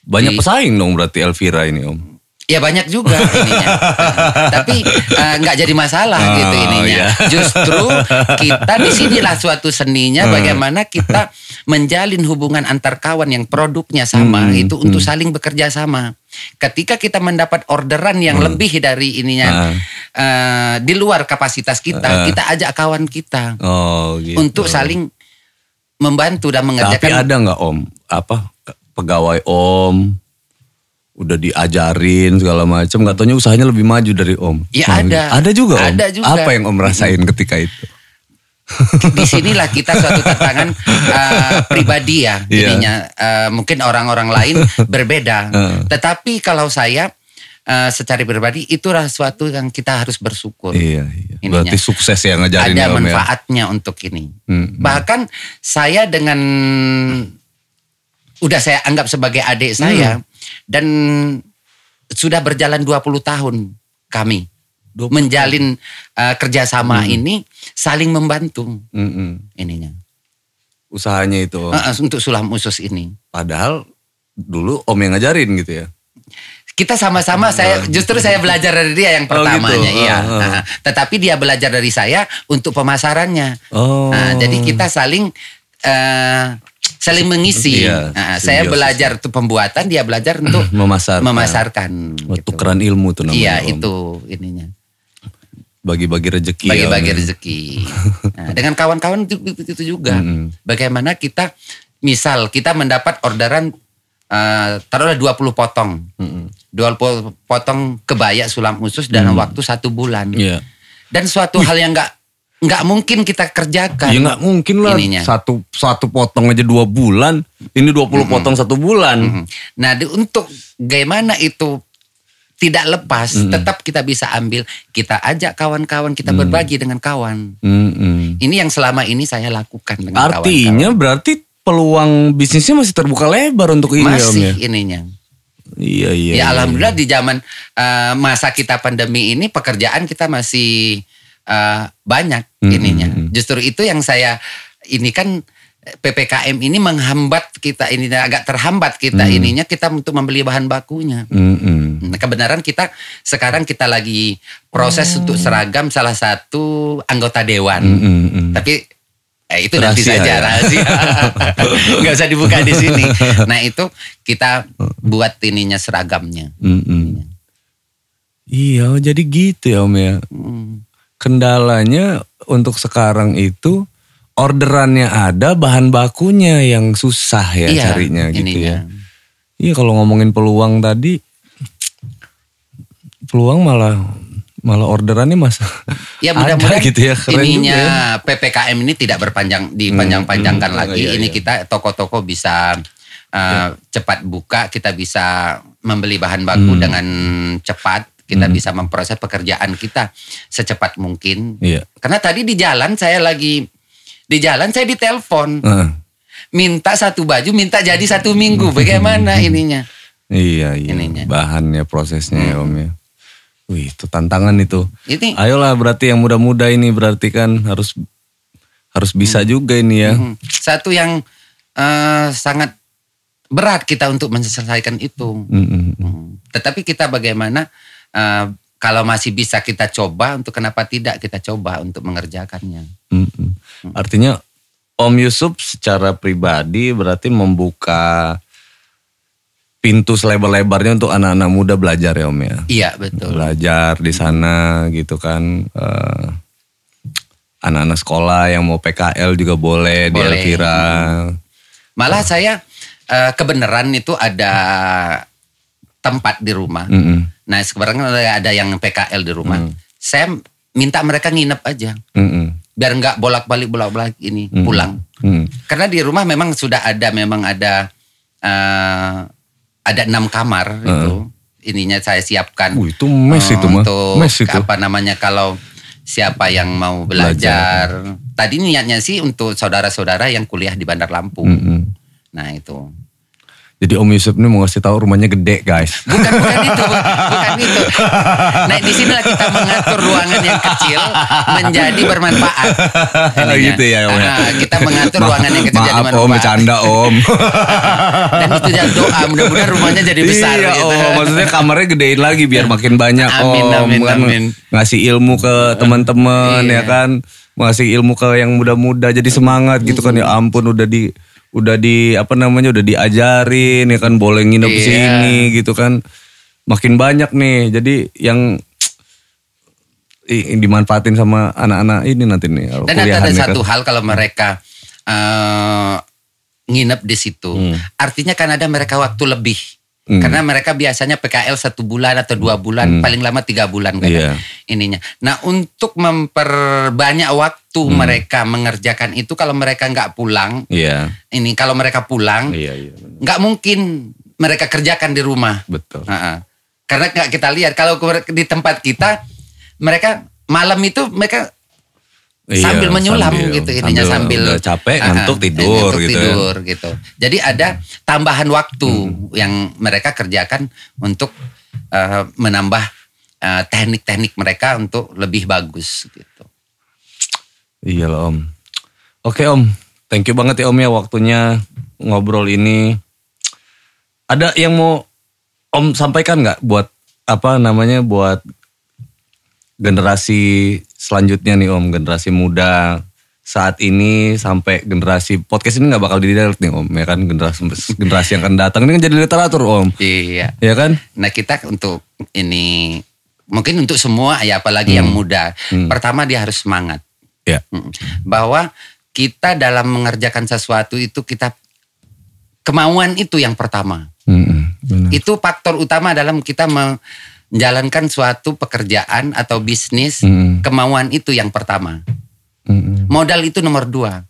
Banyak
Di-
pesaing dong berarti Elvira ini om.
Ya banyak juga ininya. Nah, Tapi eh, nggak jadi masalah
Oh,
gitu ininya.
iya.
Justru kita di sinilah suatu seninya
Hmm.
bagaimana kita menjalin hubungan antar kawan yang produknya sama
Hmm,
itu untuk saling bekerja sama. Ketika kita mendapat orderan yang lebih dari ininya
Hmm. Ah.
eh, di luar kapasitas kita, kita ajak kawan kita
Oh gitu.
untuk saling membantu
Tapi
dan mengerjakan
ada nggak om apa pegawai om udah diajarin segala macam nggak taunya usahanya lebih maju dari om?
Ya,
Nah,
ada.
Ada juga om.
Ada juga.
Apa yang om rasain ketika itu?
di sinilah kita suatu tantangan eh, pribadi ya
Iya.
jadinya Eh, mungkin orang-orang lain berbeda
Heeh.
tetapi kalau saya eh, secara pribadi itulah suatu yang kita harus bersyukur
Iya. iya.
Ininya.
Berarti sukses ya ngajarin
ada
ya, om ya.
manfaatnya untuk ini
Hmm,
bahkan saya dengan udah saya anggap sebagai adik saya
Hmm.
dan sudah berjalan 20 tahun kami menjalin eh,
Hmm.
kerjasama ini saling membantu
Mm, mm.
ininya
Usahanya itu om.
Heeh, Ah, untuk sulam usus ini.
Padahal dulu om yang ngajarin gitu ya.
Kita sama-sama saya justru saya belajar dari dia yang
gitu. Oh,
pertamanya
gitu.
iya.
Ah, ah.
Nah, tetapi dia belajar dari saya untuk pemasarannya.
Oh.
Nah, jadi kita saling eh, saling mengisi.
Iya,
Nah, saya
simbiosis.
belajar untuk pembuatan, dia belajar untuk
memasarkan.
memasarkan.
Oh,
gitu.
tukeran ilmu tuh namanya.
Iya,
Om.
itu ininya.
Bagi-bagi rezeki. ya,
bagi-bagi
Om.
rezeki. Nah, dengan kawan-kawan itu, itu- itu juga. Bagaimana kita misal kita mendapat orderan eh, taruhlah 20 potong. 20 potong kebaya sulam khusus dalam
Hmm.
waktu satu bulan.
Iya.
Dan suatu hal yang nggak nggak mungkin kita kerjakan.
Ya nggak mungkin lah
Ininya.
satu satu potong aja dua bulan. Ini 20 potong satu bulan.
Mhm. Nah, di- untuk bagaimana itu tidak lepas,
Hmm.
tetap kita bisa ambil, kita ajak kawan-kawan, kita berbagi dengan kawan.
Mm-mm.
Ini yang selama ini saya lakukan dengan kawan-kawan.
Artinya berarti peluang bisnisnya masih terbuka lebar untuk ini Om
masih
ya.
ininya.
Iya iya.
ya alhamdulillah di zaman eh, masa kita pandemi ini pekerjaan kita
Hmm,
masih eh, banyak ininya. Justru itu yang saya ini kan PPKM ini menghambat kita ini agak terhambat kita
Hmm.
ininya kita untuk membeli bahan bakunya.
Mm-mm.
Nah, kebenaran kita sekarang kita lagi proses untuk seragam salah satu anggota dewan.
Mm-mm.
Tapi eh, itu nanti
Hmm. Rahasia
saja
ya.
rahasia. nggak usah dibuka di sini. Nah, itu kita
Hmm.
buat ininya seragamnya.
Mm-mm. Iya, jadi gitu ya Om ya.
Hmm.
Kendalanya untuk sekarang itu orderannya ada, bahan bakunya yang susah ya carinya gitu ya.
Iya, ininya.
Iya kalau ngomongin peluang tadi, peluang malah malah orderannya mas
Ya
ada
mudah-mudahan
gitu ya keren
ininya
juga ya.
PPKM ini tidak berpanjang dipanjang-panjangkan
hmm,
lagi.
iya,
ini
iya. Ya.
kita toko-toko bisa eh, cepat buka, kita bisa membeli
Hmm.
bahan baku dengan cepat, kita bisa memproses pekerjaan kita secepat mungkin.
Iya.
Karena tadi di jalan saya lagi di jalan saya ditelepon
Heeh.
minta satu baju minta jadi satu minggu. Bagaimana ininya?
iya iya.
Ininya. Hmm.
Bahannya prosesnya ya om ya. Wih itu tantangan itu.
Ini
Ayolah berarti yang muda-muda ini berarti kan harus harus bisa juga ini ya.
Hmm. Satu yang eh, sangat berat kita untuk menyelesaikan itu.
Mm-mm.
Hmm. Tetapi kita bagaimana eh, kalau masih bisa kita coba untuk kenapa tidak kita coba untuk mengerjakannya.
Mm-mm. Artinya Om Yusuf secara pribadi berarti membuka pintu selebar-lebarnya untuk anak-anak muda belajar ya Om ya.
Iya betul.
Belajar di sana gitu kan. Eh, anak-anak sekolah yang mau PKL juga boleh, di
Boleh.
Elvira.
Malah saya eh, kebenaran itu ada tempat di rumah.
Mm-mm.
Nah sekarang ada yang PKL di rumah. Saya minta mereka nginep aja
Mm-mm.
biar nggak bolak-balik bolak-balik ini
Mm.
pulang.
Mm.
Karena di rumah memang sudah ada memang ada eh, ada enam kamar itu ininya saya siapkan.
Wuh, Uh, itu mes
Eh,
itu mah.
untuk
Mes itu.
apa namanya kalau siapa yang mau belajar. Tadi niatnya sih untuk saudara-saudara yang kuliah di Bandar Lampung.
Mm-mm.
Nah itu.
Jadi Om Yusuf ini mau ngasih tahu rumahnya gede guys.
Bukan bukan itu, bukan itu. Nah di sinilah kita mengatur ruangan yang kecil menjadi bermanfaat. Ininya.
gitu ya Om. ya?
Ah, kita mengatur
Ma-
ruangan yang kecil jadi
Maaf Om,
bermanfaat.
bercanda Om.
Dan itu jadi doa mudah-mudahan rumahnya jadi besar.
Iya
gitu. Iya.
Om, maksudnya kamarnya gedein lagi biar makin banyak
Amin,
Om.
amin,
Kan
amin.
Ngasih ilmu ke teman-teman ya
Iya.
kan. Ngasih ilmu ke yang muda-muda jadi semangat gitu kan. Ya ampun udah di udah di apa namanya udah diajarin ya kan boleh nginep
Iya.
sini gitu kan. Makin banyak nih. Jadi yang i- dimanfaatin sama anak-anak ini nanti nih
Dan ada, ada
kuliahan ya kan.
satu hal kalau mereka eh, nginep di situ,
Hmm.
artinya kan ada mereka waktu lebih. Karena mereka biasanya PKL satu bulan atau dua bulan, paling lama tiga bulan kan
Hmm. Iya.
ininya. Nah untuk memperbanyak waktu
Hmm.
mereka mengerjakan itu, kalau mereka nggak pulang,
Iya.
ini kalau mereka pulang
Iya, iya.
nggak mungkin mereka kerjakan di rumah.
Betul.
Heeh. Karena nggak kita lihat kalau ke- di tempat kita mereka malam itu mereka sambil
Iya,
menyulam
sambil-
gitu ininya sambil,
udah capek
Heeh,
ngantuk tidur
ngantuk
gitu. ya.
tidur gitu. Jadi ada tambahan waktu
Hmm.
yang mereka kerjakan untuk eh, menambah eh, teknik-teknik mereka untuk lebih bagus gitu.
Iya lah Om. Oke Om, thank you banget ya Om ya waktunya ngobrol ini. Ada yang mau Om sampaikan nggak buat apa namanya buat generasi selanjutnya nih Om, generasi muda saat ini sampai generasi podcast ini nggak bakal didelete nih Om, ya kan generasi generasi yang akan datang ini kan jadi literatur Om,
Iya.
ya kan?
Nah kita untuk ini mungkin untuk semua ya apalagi yang muda. Pertama dia harus semangat.
Ya.
Mm. bahwa kita dalam mengerjakan sesuatu itu kita kemauan itu yang pertama.
Mm-mm, benar.
Itu faktor utama dalam kita me- menjalankan suatu pekerjaan atau bisnis.
Mm-mm,
Kemauan itu yang pertama.
mm-mm,
Modal itu nomor dua.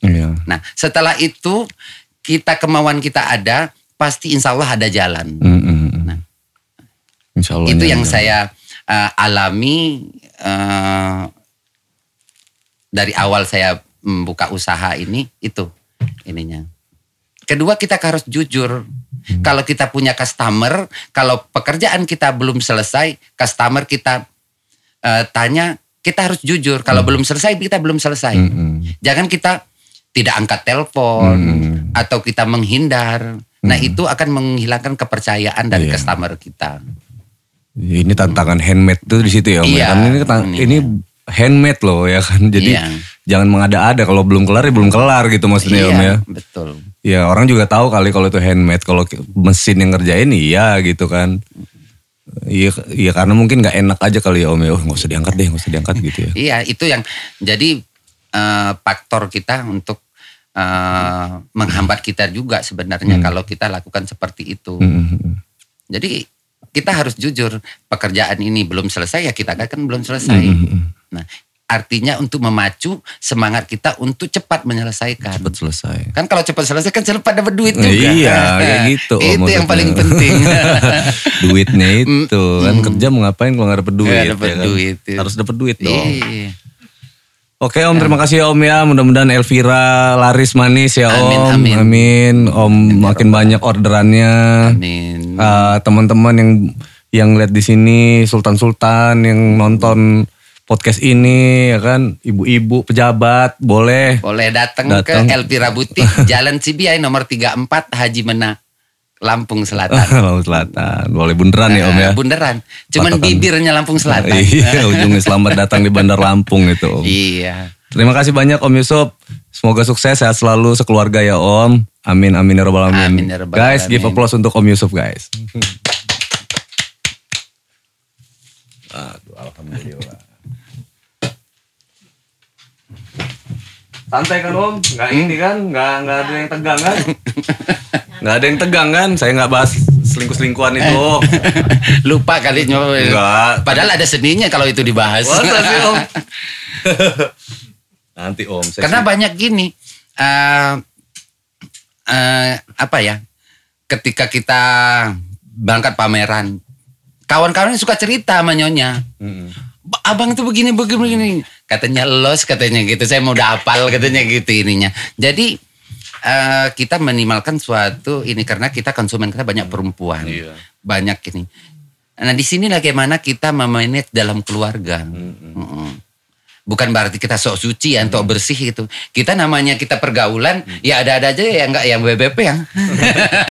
Iya.
Nah setelah itu kita kemauan kita ada pasti insya Allah ada jalan.
Mm-mm. Mm, Insya Allah
Nah. itu
ini
yang
ada.
saya eh, alami eh, dari awal saya membuka usaha ini itu ininya kedua kita harus jujur kalau kita punya customer kalau pekerjaan kita belum selesai customer
Mm,
kita
Hmm.
eh, tanya kita harus jujur kalau belum selesai kita belum selesai
Mm-mm.
jangan kita tidak angkat telepon atau kita menghindar. Nah, itu akan menghilangkan kepercayaan dari
Iya.
customer kita.
Ini tantangan handmade tuh di situ ya, Om.
Iya,
Karena ini, ketan-
ini.
ini handmade loh ya kan. Jadi
Iya.
jangan mengada-ada kalau belum kelar ya belum kelar gitu maksudnya Om
Iya.
ya.
betul.
Ya orang juga tahu kali kalau itu handmade, kalau ki- mesin yang ngerjain iya gitu kan. Iya, iya karena mungkin nggak enak aja kali ya Om ya. Oh, nggak usah diangkat deh, nggak usah diangkat gitu ya.
Iya, itu yang jadi eh, faktor kita untuk eh, menghambat kita juga
Hmm.
sebenarnya kalau kita lakukan seperti itu.
Mm, Mm-mm.
Jadi kita harus jujur, pekerjaan ini belum selesai ya kita katakan belum selesai.
Mm, Hmm.
Nah, artinya untuk memacu semangat kita untuk cepat menyelesaikan.
Cepat selesai.
Kan kalau cepat selesai kan cepat dapat duit juga.
Iya, kayak gitu,
itu
Om,
yang
maksudnya.
paling penting.
Duitnya itu kan kerja mau ngapain kalau nggak dapet duit?
Nggak dapet
ya kan?
duit, iya.
Harus dapet duit dong.
Iya.
Oke Om, terima kasih ya Om ya. Mudah-mudahan Elvira laris manis ya Om.
Amin, amin. ya
Amin. Om makin banyak orderannya.
Amin.
Eh, Teman-teman yang yang lihat di sini Sultan-Sultan yang nonton podcast ini ya kan ibu-ibu pejabat boleh
Boleh datang ke
Datang.
Elvira Butik Jalan Cibiai nomor 34 Haji Mena Lampung Selatan.
Laut Selatan boleh bunderan ya Oh, Om ya.
Eh, Bundaran. Cuman
Patokan.
bibirnya Lampung Nah, Selatan.
Iya, ujungnya selamat datang di Bandar Lampung itu Om.
iya.
Terima kasih banyak Om Yusuf. Semoga sukses sehat selalu sekeluarga ya Om. Amin amin ya rabbal alamin.
Amin, ya rabbal
guys, give
alamin.
applause untuk Om Yusuf guys. Aduh, alhamdulillah. Santai kan Om, nggak
Hmm?
ini kan, nggak nggak ada yang tegang kan? Nggak ada yang tegang kan? Saya nggak bahas selingkuh selingkuhan itu.
Lupa kali nyoba.
Enggak.
Padahal ada seninya kalau itu dibahas.
Masa sih Om? Nanti Om, saya
Karena banyak gini. eh eh, apa ya? Ketika kita berangkat pameran, kawan-kawan suka cerita sama nyonya.
Mm-mm.
"Ba- abang tuh begini begini begini katanya los katanya gitu saya mau udah hafal katanya gitu ininya jadi eh, kita minimalkan suatu ini karena kita konsumen kita banyak perempuan
Iya.
banyak ini nah di sini bagaimana kita memanage dalam keluarga Mm-mm. bukan berarti kita sok suci atau ya, bersih gitu kita namanya kita pergaulan ya ada-ada aja ya nggak yang BBP yang